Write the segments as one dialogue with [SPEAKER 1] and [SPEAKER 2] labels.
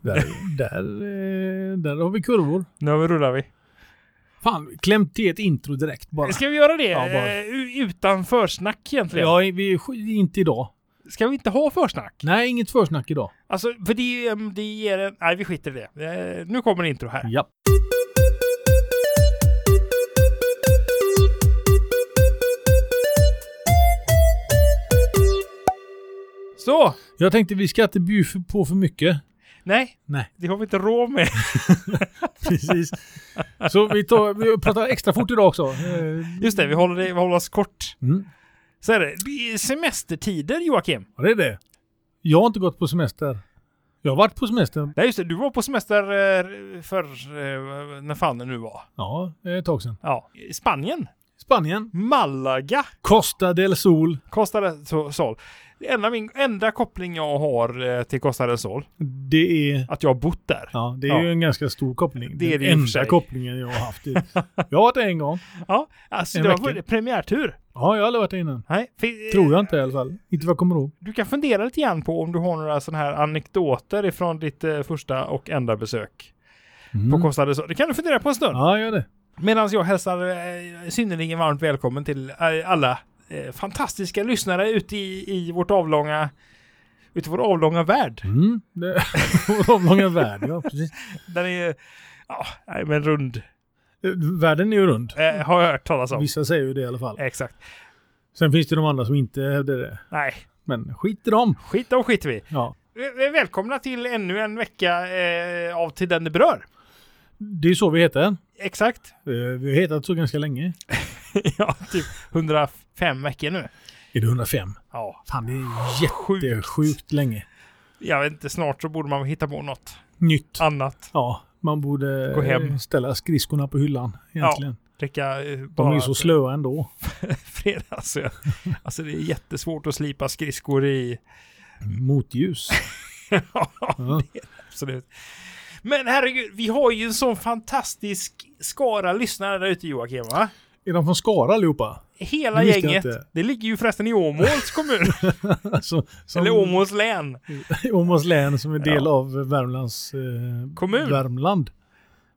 [SPEAKER 1] Där, där, eh, där har vi kurvor.
[SPEAKER 2] Nu rullar vi.
[SPEAKER 1] Fan, klämt till ett intro direkt bara.
[SPEAKER 2] Ska vi göra det?
[SPEAKER 1] Ja, bara-
[SPEAKER 2] Eh, u- Utan försnack egentligen.
[SPEAKER 1] Ja, vi är sk- inte idag.
[SPEAKER 2] Ska vi inte ha försnack?
[SPEAKER 1] Nej, inget försnack idag.
[SPEAKER 2] Alltså, för det, är ju, ehm, det ger en... Nej, vi skiter i det. Eh, Nu kommer intro här.
[SPEAKER 1] Ja.
[SPEAKER 2] Så!
[SPEAKER 1] Jag tänkte vi ska inte bjuda på för mycket.
[SPEAKER 2] Nej.
[SPEAKER 1] Nej.
[SPEAKER 2] Det har vi inte råd med.
[SPEAKER 1] Precis. Så vi, tar, vi pratar extra fort idag också. Eh,
[SPEAKER 2] Just det, vi håller, det, vi håller oss kort.
[SPEAKER 1] Mm.
[SPEAKER 2] Så är det. Det är semestertider, Joakim.
[SPEAKER 1] Ja, det är det. Jag har inte gått på semester. Jag har varit på semester.
[SPEAKER 2] Nej, just det. Du var på semester eh, för... eh, När fan det nu var.
[SPEAKER 1] Ja, eh, ett tag sedan.
[SPEAKER 2] Ja. I Spanien.
[SPEAKER 1] Spanien.
[SPEAKER 2] Malaga.
[SPEAKER 1] Costa del Sol.
[SPEAKER 2] Costa del So- Sol. Det enda, min, enda koppling jag har eh, till Costa del Sol,
[SPEAKER 1] Det är...
[SPEAKER 2] att jag har bott där.
[SPEAKER 1] Ja, det är
[SPEAKER 2] Ja.
[SPEAKER 1] ju en ganska stor koppling.
[SPEAKER 2] Det är det i
[SPEAKER 1] Den
[SPEAKER 2] och för
[SPEAKER 1] enda
[SPEAKER 2] sig.
[SPEAKER 1] kopplingen jag har haft. I. Jag har varit där en gång.
[SPEAKER 2] Ja, alltså
[SPEAKER 1] En
[SPEAKER 2] det
[SPEAKER 1] vecka.
[SPEAKER 2] var en premiärtur.
[SPEAKER 1] Ja, jag har aldrig varit där innan.
[SPEAKER 2] Nej, fi-
[SPEAKER 1] Tror jag inte i alla fall. Inte vad jag kommer ihåg.
[SPEAKER 2] Du kan fundera lite grann på om du har några sådana här anekdoter ifrån ditt eh, första och enda besök på Costa del Sol. Det kan du fundera på en stund.
[SPEAKER 1] Mm. Ja, gör det.
[SPEAKER 2] Medan jag hälsar eh, synnerligen varmt välkommen till eh, alla eh, fantastiska lyssnare ute i, i vårt avlånga ute i vår avlånga värld.
[SPEAKER 1] Mm. det vår avlånga värld, ja precis.
[SPEAKER 2] Den är, ja, nej men rund,
[SPEAKER 1] Eh, Världen är ju rund.
[SPEAKER 2] eh, har jag hört talas om.
[SPEAKER 1] Vissa säger ju det i alla fall.
[SPEAKER 2] Exakt.
[SPEAKER 1] Sen finns det de andra som inte hävdar det.
[SPEAKER 2] Nej,
[SPEAKER 1] Men skit i dem.
[SPEAKER 2] skit om skit vi.
[SPEAKER 1] Ja.
[SPEAKER 2] Eh, Välkomna till ännu en vecka eh, av Till den det berör.
[SPEAKER 1] Det är så vi heter.
[SPEAKER 2] Exakt.
[SPEAKER 1] Eh, Vi har hetat så ganska länge.
[SPEAKER 2] ja, typ 105 veckor nu.
[SPEAKER 1] Är det 105?
[SPEAKER 2] Ja,
[SPEAKER 1] Fan, det är
[SPEAKER 2] Sjukt.
[SPEAKER 1] jättesjukt länge.
[SPEAKER 2] jag vet inte, snart så borde man hitta på något
[SPEAKER 1] Nytt.
[SPEAKER 2] annat.
[SPEAKER 1] Ja, man borde
[SPEAKER 2] Gå hem.
[SPEAKER 1] eh, ställa skridskorna på hyllan egentligen.
[SPEAKER 2] Dricka eh,
[SPEAKER 1] De
[SPEAKER 2] bara
[SPEAKER 1] är ju så slöa ändå.
[SPEAKER 2] fredagsöl. Alltså det är jättesvårt att slipa skridskor i.
[SPEAKER 1] Motljus.
[SPEAKER 2] Ja,
[SPEAKER 1] Ja.
[SPEAKER 2] absolut. Men herregud, vi har ju en sån fantastisk skara lyssnare där ute Joakim va?
[SPEAKER 1] Är de från Skara allihopa?
[SPEAKER 2] Hela
[SPEAKER 1] Det visste jag
[SPEAKER 2] gänget.
[SPEAKER 1] inte.
[SPEAKER 2] Det ligger ju förresten i Åmåls kommun.
[SPEAKER 1] Alltså, som-
[SPEAKER 2] Eller Åmåls län.
[SPEAKER 1] Åmåls län som är del
[SPEAKER 2] Ja.
[SPEAKER 1] av Värmlands... Eh,
[SPEAKER 2] Kommun.
[SPEAKER 1] Värmland.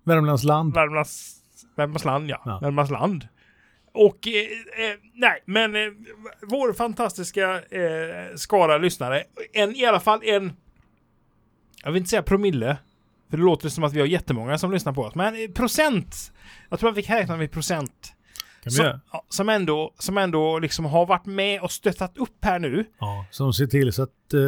[SPEAKER 1] Värmlands land.
[SPEAKER 2] Värmlands, Värmlands land, ja.
[SPEAKER 1] Ja.
[SPEAKER 2] Värmlands land. Och eh, eh, nej, men eh, vår fantastiska eh, skara lyssnare, en, i alla fall en, jag vill inte säga promille, för det låter som att vi har jättemånga som lyssnar på oss, men eh, procent, jag tror att vi kan räkna med procent,
[SPEAKER 1] Kan vi
[SPEAKER 2] som,
[SPEAKER 1] göra?
[SPEAKER 2] ja, som ändå, som ändå liksom har varit med och stöttat upp här nu.
[SPEAKER 1] Ja, som ser till så att eh,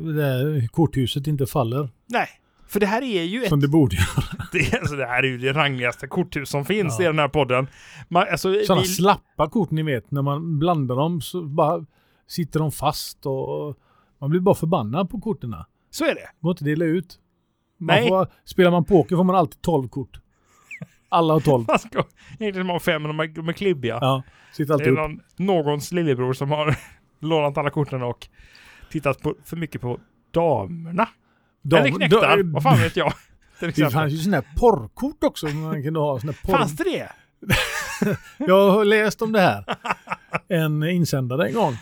[SPEAKER 1] det här korthuset inte faller.
[SPEAKER 2] Nej, för det här är ju ett
[SPEAKER 1] Som det borde göra.
[SPEAKER 2] Det, alltså det här är ju det rangligaste korthus som finns
[SPEAKER 1] Ja.
[SPEAKER 2] i den här podden. Man, alltså,
[SPEAKER 1] Sådana
[SPEAKER 2] vi-
[SPEAKER 1] slappa kort ni vet, när man blandar dem så bara sitter de fast och och man blir bara förbannad på korten.
[SPEAKER 2] så är det.
[SPEAKER 1] Går inte att dela ut. Man
[SPEAKER 2] Nej.
[SPEAKER 1] får, spelar man poker får man alltid 12 kort. Alla har 12.
[SPEAKER 2] Man ska egentligen ha fem, men de är, de är klibbiga.
[SPEAKER 1] Ja, sitter
[SPEAKER 2] det
[SPEAKER 1] alltid
[SPEAKER 2] är
[SPEAKER 1] upp.
[SPEAKER 2] någon, någons lillebror som har lånat alla korten och tittat på, för mycket på damerna.
[SPEAKER 1] Dam-
[SPEAKER 2] Eller knektar,
[SPEAKER 1] da-
[SPEAKER 2] vad fan vet jag. Till
[SPEAKER 1] det
[SPEAKER 2] exempel.
[SPEAKER 1] fanns ju sådana här porrkort också. som Man kunde ha såna här porr...
[SPEAKER 2] Fanns det det?
[SPEAKER 1] Jag har läst om det här. En insändare en gång.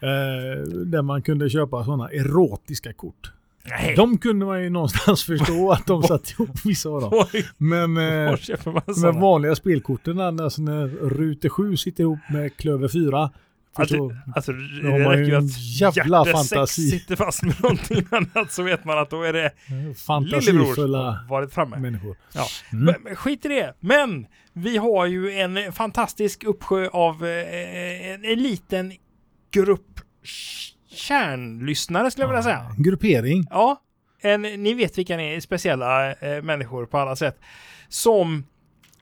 [SPEAKER 1] Eh, där man kunde köpa sådana erotiska kort.
[SPEAKER 2] Nej.
[SPEAKER 1] De kunde man ju någonstans förstå att de satt ihop vissa av dem.
[SPEAKER 2] Oj,
[SPEAKER 1] Men eh,
[SPEAKER 2] var köper man
[SPEAKER 1] de här
[SPEAKER 2] sådana?
[SPEAKER 1] vanliga spelkorten alltså när Rute 7 sitter ihop med Klöver 4.
[SPEAKER 2] Alltså,
[SPEAKER 1] Förstå,
[SPEAKER 2] alltså,
[SPEAKER 1] har
[SPEAKER 2] det
[SPEAKER 1] man
[SPEAKER 2] räcker
[SPEAKER 1] ju
[SPEAKER 2] ju
[SPEAKER 1] en
[SPEAKER 2] att
[SPEAKER 1] jävla
[SPEAKER 2] hjärtesex
[SPEAKER 1] fantasi.
[SPEAKER 2] sitter fast med någonting annat så vet man att då är det lillebror som
[SPEAKER 1] fantasifulla
[SPEAKER 2] har varit framme.
[SPEAKER 1] människor.
[SPEAKER 2] Ja.
[SPEAKER 1] Mm.
[SPEAKER 2] Men, men skit i det. Men vi har ju en fantastisk uppsjö av eh, en, en liten grupp k- kärnlyssnare skulle jag vilja säga.
[SPEAKER 1] Gruppering.
[SPEAKER 2] Ja, en, ni vet vilka ni är, speciella eh, människor på alla sätt. Som,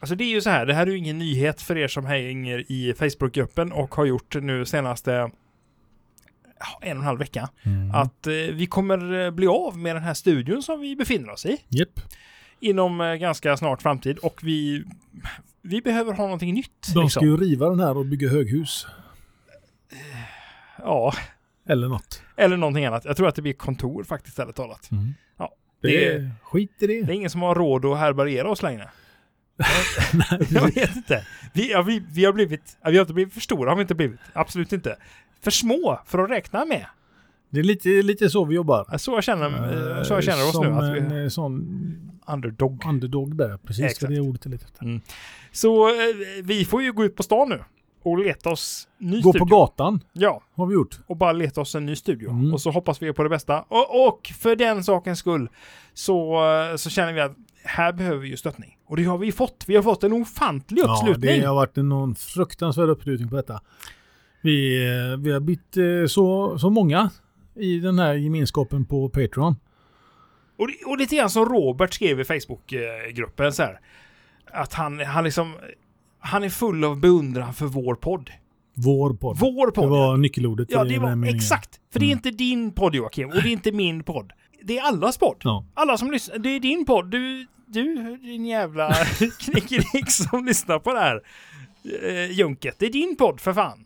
[SPEAKER 2] alltså det är ju så här, det här är ju ingen nyhet för er som hänger i Facebookgruppen och har gjort nu senaste ja, en och en halv vecka. Att eh, vi kommer eh, bli av med den här studion som vi befinner oss i
[SPEAKER 1] Japp.
[SPEAKER 2] inom eh, ganska snart framtid och vi, vi behöver ha någonting nytt.
[SPEAKER 1] De ska
[SPEAKER 2] liksom.
[SPEAKER 1] ju riva den här och bygga höghus.
[SPEAKER 2] Ja,
[SPEAKER 1] Eller något.
[SPEAKER 2] eller någonting annat. Jag tror att det blir kontor faktiskt, ärligt talat. Ja,
[SPEAKER 1] Det,
[SPEAKER 2] det-
[SPEAKER 1] skit i det.
[SPEAKER 2] Det är ingen som har råd att härbärgera oss längre. jag vet inte. Vi, ja, vi, vi har blivit, ja, vi har inte blivit för stora, har vi inte blivit. Absolut inte. För små för att räkna med.
[SPEAKER 1] Det är lite, lite så vi jobbar.
[SPEAKER 2] Ja, Så jag känner, eh, så jag känner oss
[SPEAKER 1] Som
[SPEAKER 2] nu, att vi
[SPEAKER 1] en
[SPEAKER 2] är
[SPEAKER 1] eh, sån
[SPEAKER 2] underdog.
[SPEAKER 1] underdog där, precis.
[SPEAKER 2] Exakt.
[SPEAKER 1] Det är ordet jag letar efter.
[SPEAKER 2] Så eh, vi får ju gå ut på stan nu och leta oss ny
[SPEAKER 1] Gå på
[SPEAKER 2] studio.
[SPEAKER 1] gatan
[SPEAKER 2] Ja,
[SPEAKER 1] har vi gjort.
[SPEAKER 2] och bara leta oss en ny studio.
[SPEAKER 1] Mm.
[SPEAKER 2] Och så hoppas vi på det bästa. Och, och för den sakens skull så, eh, så känner vi att här behöver vi ju stöttning. Och det har vi fått. Vi har fått en ofantlig uppslutning.
[SPEAKER 1] det har varit en någon fruktansvärd uppslutning på detta. Vi, eh, vi har bytt eh, så, så många i den här gemenskapen på Patreon.
[SPEAKER 2] Och, det- och lite grann som Robert skrev i Facebookgruppen så här. Att han, han liksom... Han är full av beundran för vår podd.
[SPEAKER 1] Vår podd.
[SPEAKER 2] Vår
[SPEAKER 1] det
[SPEAKER 2] podd!
[SPEAKER 1] var nyckelordet
[SPEAKER 2] ja,
[SPEAKER 1] i
[SPEAKER 2] det
[SPEAKER 1] den här
[SPEAKER 2] var
[SPEAKER 1] meningen. Mm.
[SPEAKER 2] exakt! För det är inte din podd Joakim, och det är inte min podd. Det är allas podd.
[SPEAKER 1] Ja.
[SPEAKER 2] Alla som lyssnar, det är din podd. Du, du din jävla knickedick som lyssnar på det här eh, junket. Det är din podd för fan.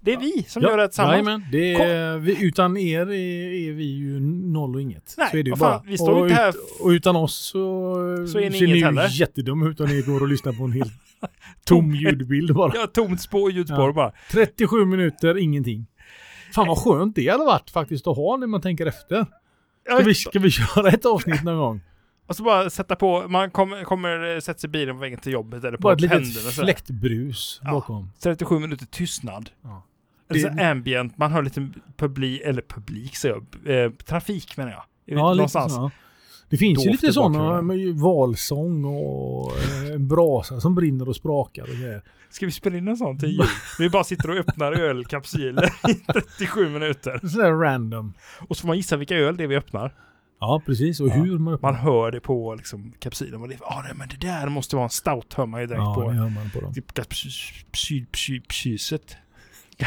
[SPEAKER 2] Det är vi som gör det tillsammans.
[SPEAKER 1] jajamän. det är, vi, utan er är, är vi ju noll och inget.
[SPEAKER 2] Nej,
[SPEAKER 1] så är det ju
[SPEAKER 2] vad fan,
[SPEAKER 1] bara.
[SPEAKER 2] vi står ju
[SPEAKER 1] och,
[SPEAKER 2] inte här-
[SPEAKER 1] och utan oss så,
[SPEAKER 2] Så är ni
[SPEAKER 1] ser
[SPEAKER 2] inget
[SPEAKER 1] ju
[SPEAKER 2] heller.
[SPEAKER 1] jättedum ut om ni går och lyssnar på en helt tom ljudbild bara.
[SPEAKER 2] Ja, tomt spår ljudspår
[SPEAKER 1] Ja.
[SPEAKER 2] bara.
[SPEAKER 1] 37 minuter, ingenting. Fan vad skönt det hade varit faktiskt att ha när man tänker efter. Ska vi, ska vi köra ett avsnitt någon gång?
[SPEAKER 2] Och så alltså bara sätta på, man kommer, kommer eh, sätta sig i bilen på vägen till jobbet eller på
[SPEAKER 1] Bara ett
[SPEAKER 2] händerna.
[SPEAKER 1] litet
[SPEAKER 2] så här.
[SPEAKER 1] fläktbrus
[SPEAKER 2] Ja.
[SPEAKER 1] bakom.
[SPEAKER 2] 37 minuter tystnad.
[SPEAKER 1] Ja.
[SPEAKER 2] Eller så
[SPEAKER 1] Det-
[SPEAKER 2] ambient, man hör lite publik, eller publik säger jag, eh, trafik menar jag.
[SPEAKER 1] Ja,
[SPEAKER 2] Ja,
[SPEAKER 1] lite
[SPEAKER 2] någonstans.
[SPEAKER 1] så, ja. Det finns ju
[SPEAKER 2] Dovt i
[SPEAKER 1] lite sådana
[SPEAKER 2] bakgrunden.
[SPEAKER 1] med ju valsång och eh, en brasa som brinner och sprakar och grejer.
[SPEAKER 2] Ska vi spela in en sån till jul? Vi bara sitter och öppnar ölkapsyler i 37 minuter.
[SPEAKER 1] Sådär random.
[SPEAKER 2] Och så får man gissa vilka öl det är vi öppnar.
[SPEAKER 1] Ja, precis. Och
[SPEAKER 2] Ja.
[SPEAKER 1] hur man
[SPEAKER 2] Man
[SPEAKER 1] öppnar.
[SPEAKER 2] hör det på liksom, kapsylen. Och det, ah, nej, men det där måste vara en stout, hör man ju direkt
[SPEAKER 1] Ja, det
[SPEAKER 2] på.
[SPEAKER 1] hör man på dem.
[SPEAKER 2] Typ kapsy- psy- psy- Psyset.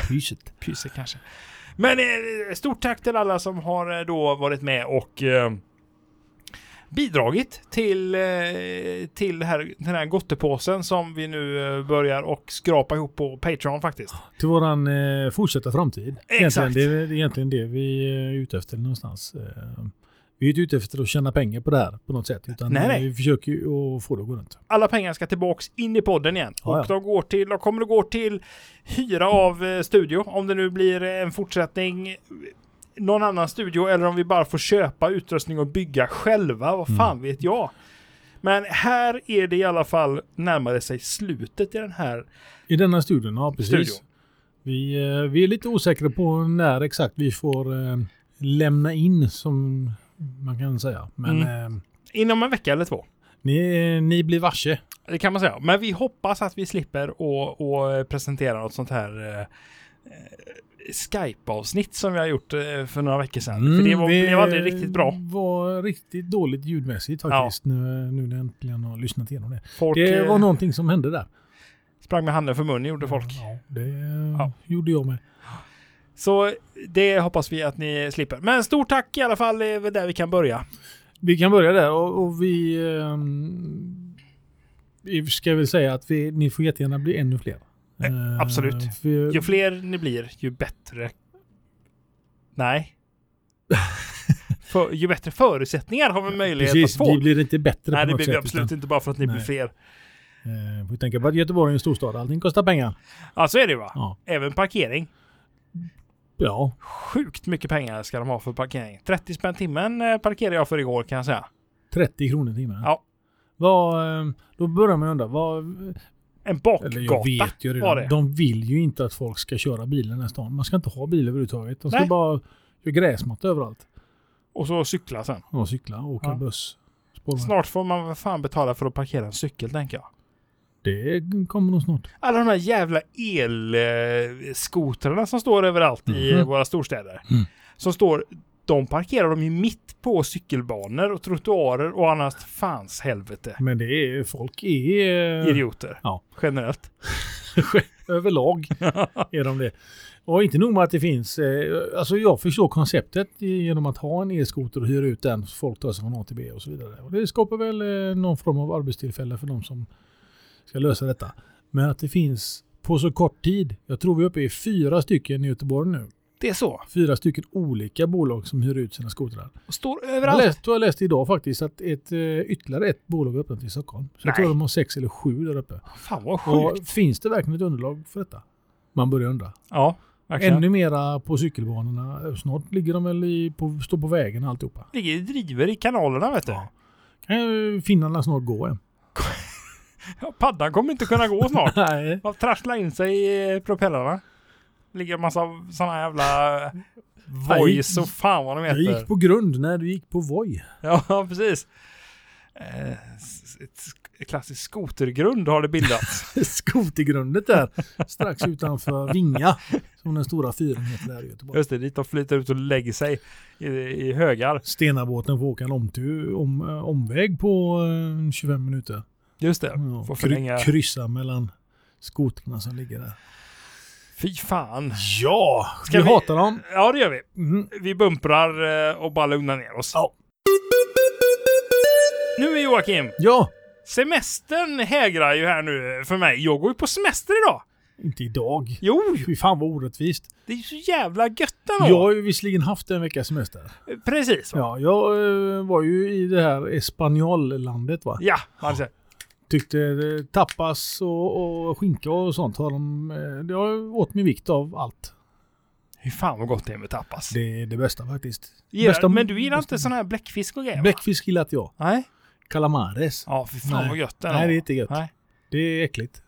[SPEAKER 1] Pyset.
[SPEAKER 2] Pyset kanske. Men eh, stort tack till alla som har eh, då varit med och eh, bidragit till, eh, till det här, den här gottepåsen som vi nu eh, börjar och skrapa ihop på Patreon faktiskt.
[SPEAKER 1] Till våran eh, fortsatta framtid.
[SPEAKER 2] Exakt.
[SPEAKER 1] Egentligen, det, är, det är egentligen det vi eh, är ute efter någonstans. Eh, vi är inte ute efter att tjäna pengar på det här på något sätt. Utan
[SPEAKER 2] Nej,
[SPEAKER 1] eh,
[SPEAKER 2] nej.
[SPEAKER 1] vi försöker ju att få det att gå runt.
[SPEAKER 2] alla pengar ska tillbaks in i podden igen.
[SPEAKER 1] Ja, ja.
[SPEAKER 2] Och de, går till, de kommer att gå till hyra av eh, studio, om det nu blir eh, en fortsättning eh, någon annan studio eller om vi bara får köpa utrustning och bygga själva, vad fan
[SPEAKER 1] Mm.
[SPEAKER 2] vet jag. Men här är det i alla fall närmare sig slutet i den här
[SPEAKER 1] I denna studion, ja precis.
[SPEAKER 2] Studio.
[SPEAKER 1] Vi, eh, vi är lite osäkra på när exakt vi får eh, lämna in som man kan säga. Men
[SPEAKER 2] Mm.
[SPEAKER 1] eh,
[SPEAKER 2] inom en vecka eller två.
[SPEAKER 1] ni, ni blir varse.
[SPEAKER 2] Det kan man säga. Men vi hoppas att vi slipper och, och presentera något sånt här eh, eh, Skype-avsnitt som vi har gjort eh, för några veckor sedan. för det var,
[SPEAKER 1] Mm, vi
[SPEAKER 2] blev aldrig riktigt bra.
[SPEAKER 1] var riktigt dåligt ljudmässigt faktiskt nu, nu när jag äntligen har lyssnat igenom det.
[SPEAKER 2] Folk
[SPEAKER 1] det
[SPEAKER 2] eh,
[SPEAKER 1] var Mm. någonting som hände där.
[SPEAKER 2] sprang med handen för munnen gjorde folk.
[SPEAKER 1] Ja, det
[SPEAKER 2] Ja.
[SPEAKER 1] gjorde jag med.
[SPEAKER 2] Så det hoppas vi att ni slipper. Men stort tack i alla fall, det är väl där vi kan börja.
[SPEAKER 1] Vi kan börja där och, och vi... ehm, vi ska väl säga att vi, ni får jättegärna bli ännu fler.
[SPEAKER 2] Eh,
[SPEAKER 1] Eh,
[SPEAKER 2] absolut.
[SPEAKER 1] för-
[SPEAKER 2] Ju fler ni blir, ju bättre... Nej. För, ju bättre förutsättningar har vi möjlighet
[SPEAKER 1] Precis,
[SPEAKER 2] att få.
[SPEAKER 1] vi blir inte bättre
[SPEAKER 2] Nej,
[SPEAKER 1] på
[SPEAKER 2] det
[SPEAKER 1] något
[SPEAKER 2] blir vi
[SPEAKER 1] sätt.
[SPEAKER 2] absolut
[SPEAKER 1] utan,
[SPEAKER 2] inte bara för att ni blir
[SPEAKER 1] Nej.
[SPEAKER 2] fler.
[SPEAKER 1] eh, får tänka på att Göteborg är en storstad. Allting kostar pengar.
[SPEAKER 2] Ja, så är det ju va?
[SPEAKER 1] Ja.
[SPEAKER 2] Även parkering.
[SPEAKER 1] Ja,
[SPEAKER 2] Sjukt mycket pengar ska de ha för parkering. 30 spänn timmen eh, parkerade jag för igår kan jag säga.
[SPEAKER 1] 30 kronor i timmen.
[SPEAKER 2] Ja.
[SPEAKER 1] Vad, eh, då börjar man ju undra. Vad,
[SPEAKER 2] En
[SPEAKER 1] eller jag
[SPEAKER 2] bakgata
[SPEAKER 1] vet ju
[SPEAKER 2] var
[SPEAKER 1] redan.
[SPEAKER 2] det.
[SPEAKER 1] De vill ju inte att folk ska köra bilen i den här stan. Man ska inte ha bil överhuvudtaget. De ska
[SPEAKER 2] Nej.
[SPEAKER 1] bara göra gräsmatta överallt.
[SPEAKER 2] Och så cykla sen.
[SPEAKER 1] Och cykla, åka
[SPEAKER 2] Ja.
[SPEAKER 1] buss. spårvagn.
[SPEAKER 2] Snart får man väl fan betala för att parkera en cykel tänker jag.
[SPEAKER 1] Det kommer nog snart.
[SPEAKER 2] Alla de här jävla elskotrarna som står överallt i
[SPEAKER 1] Mhm.
[SPEAKER 2] eh, våra storstäder.
[SPEAKER 1] Mm.
[SPEAKER 2] Som står, de parkerar de ju mitt på cykelbanor och trottoarer och annars fans helvete.
[SPEAKER 1] Men det är, folk är... eh,
[SPEAKER 2] Idioter.
[SPEAKER 1] Mm. Ja.
[SPEAKER 2] Generellt.
[SPEAKER 1] Överlag är de det. Och inte nog med att det finns, eh, alltså jag förstår konceptet genom att ha en e-skoter och hyra ut den. så Folk tar sig från A till B och så vidare. Och det skapar väl eh, någon form av arbetstillfälle för de som ska lösa detta. Men att det finns på så kort tid, jag tror vi är uppe i fyra stycken i Göteborg nu.
[SPEAKER 2] Det är så.
[SPEAKER 1] Fyra stycken olika bolag som hyr ut sina skotrar.
[SPEAKER 2] Står
[SPEAKER 1] Jag
[SPEAKER 2] överallt.
[SPEAKER 1] läste, jag läste idag faktiskt att ett, eh, ytterligare ett bolag har öppnat i Stockholm. Så jag
[SPEAKER 2] Nej.
[SPEAKER 1] tror de har sex eller sju där uppe.
[SPEAKER 2] Fan vad
[SPEAKER 1] Och
[SPEAKER 2] sjukt.
[SPEAKER 1] finns det verkligen ett underlag för detta? Man börjar undra.
[SPEAKER 2] Ja. Verkligen.
[SPEAKER 1] Ännu mera på cykelbanorna. Snart ligger de väl i, på, står på vägen alltihopa.
[SPEAKER 2] Ligger i driver i kanalerna vet du.
[SPEAKER 1] Ja. Kan ju finnarna snart gå hem.
[SPEAKER 2] Ja, Paddan kommer inte kunna gå snart.
[SPEAKER 1] Nej.
[SPEAKER 2] Man trasslar in sig i propellrarna. Ligger en massa sådana jävla voice och fan vad de
[SPEAKER 1] Du
[SPEAKER 2] heter.
[SPEAKER 1] gick på grund när du gick på Voi.
[SPEAKER 2] Ja, precis. Eh, s- Ett sk- klassiskt skotergrund har det bildats.
[SPEAKER 1] Skotergrundet där. Strax utanför Vinga. Som den stora fyren heter där i Göteborg.
[SPEAKER 2] Just det, dit de flyter ut och lägger sig i, i högar.
[SPEAKER 1] Stenabåten får åka en omtu, om, eh, omväg på eh, 25 minuter.
[SPEAKER 2] Just det.
[SPEAKER 1] Ja,
[SPEAKER 2] Får
[SPEAKER 1] Mm, kry-
[SPEAKER 2] förlänga.
[SPEAKER 1] kryssa mellan skotrarna som ligger där.
[SPEAKER 2] Fy fan.
[SPEAKER 1] Ja!
[SPEAKER 2] Ska
[SPEAKER 1] vi,
[SPEAKER 2] vi-
[SPEAKER 1] hatar dem.
[SPEAKER 2] Ja, det gör vi.
[SPEAKER 1] Mm.
[SPEAKER 2] Vi bumprar eh, och bara lugnar ner oss.
[SPEAKER 1] Ja.
[SPEAKER 2] Nu är Joakim,
[SPEAKER 1] Ja!
[SPEAKER 2] semestern hägrar ju här nu för mig. Jag går ju på semester idag.
[SPEAKER 1] Inte idag.
[SPEAKER 2] Jo,
[SPEAKER 1] Fy fan vad orättvist.
[SPEAKER 2] det är ju så jävla gött ändå.
[SPEAKER 1] Jag har ju visserligen haft en veckas semester.
[SPEAKER 2] Precis. Va?
[SPEAKER 1] Ja, jag eh, var ju i det här Espanyollandet va.
[SPEAKER 2] Ja, man säger.
[SPEAKER 1] Tyckte eh, tapas och, och skinka och sånt har de... eh, Det har åt min vikt av allt.
[SPEAKER 2] Hur fan vad gott det är med tapas.
[SPEAKER 1] Det är det bästa faktiskt.
[SPEAKER 2] Gillar-
[SPEAKER 1] bästa-
[SPEAKER 2] men du gillar
[SPEAKER 1] bästa-
[SPEAKER 2] inte sån här bläckfisk och grejer? va?
[SPEAKER 1] Bläckfisk gillar inte jag.
[SPEAKER 2] Nej.
[SPEAKER 1] Calamares.
[SPEAKER 2] Ja, fy fan
[SPEAKER 1] Nej.
[SPEAKER 2] vad gött ändå.
[SPEAKER 1] Nej, det är inte gött.
[SPEAKER 2] Nej.
[SPEAKER 1] Det är äckligt.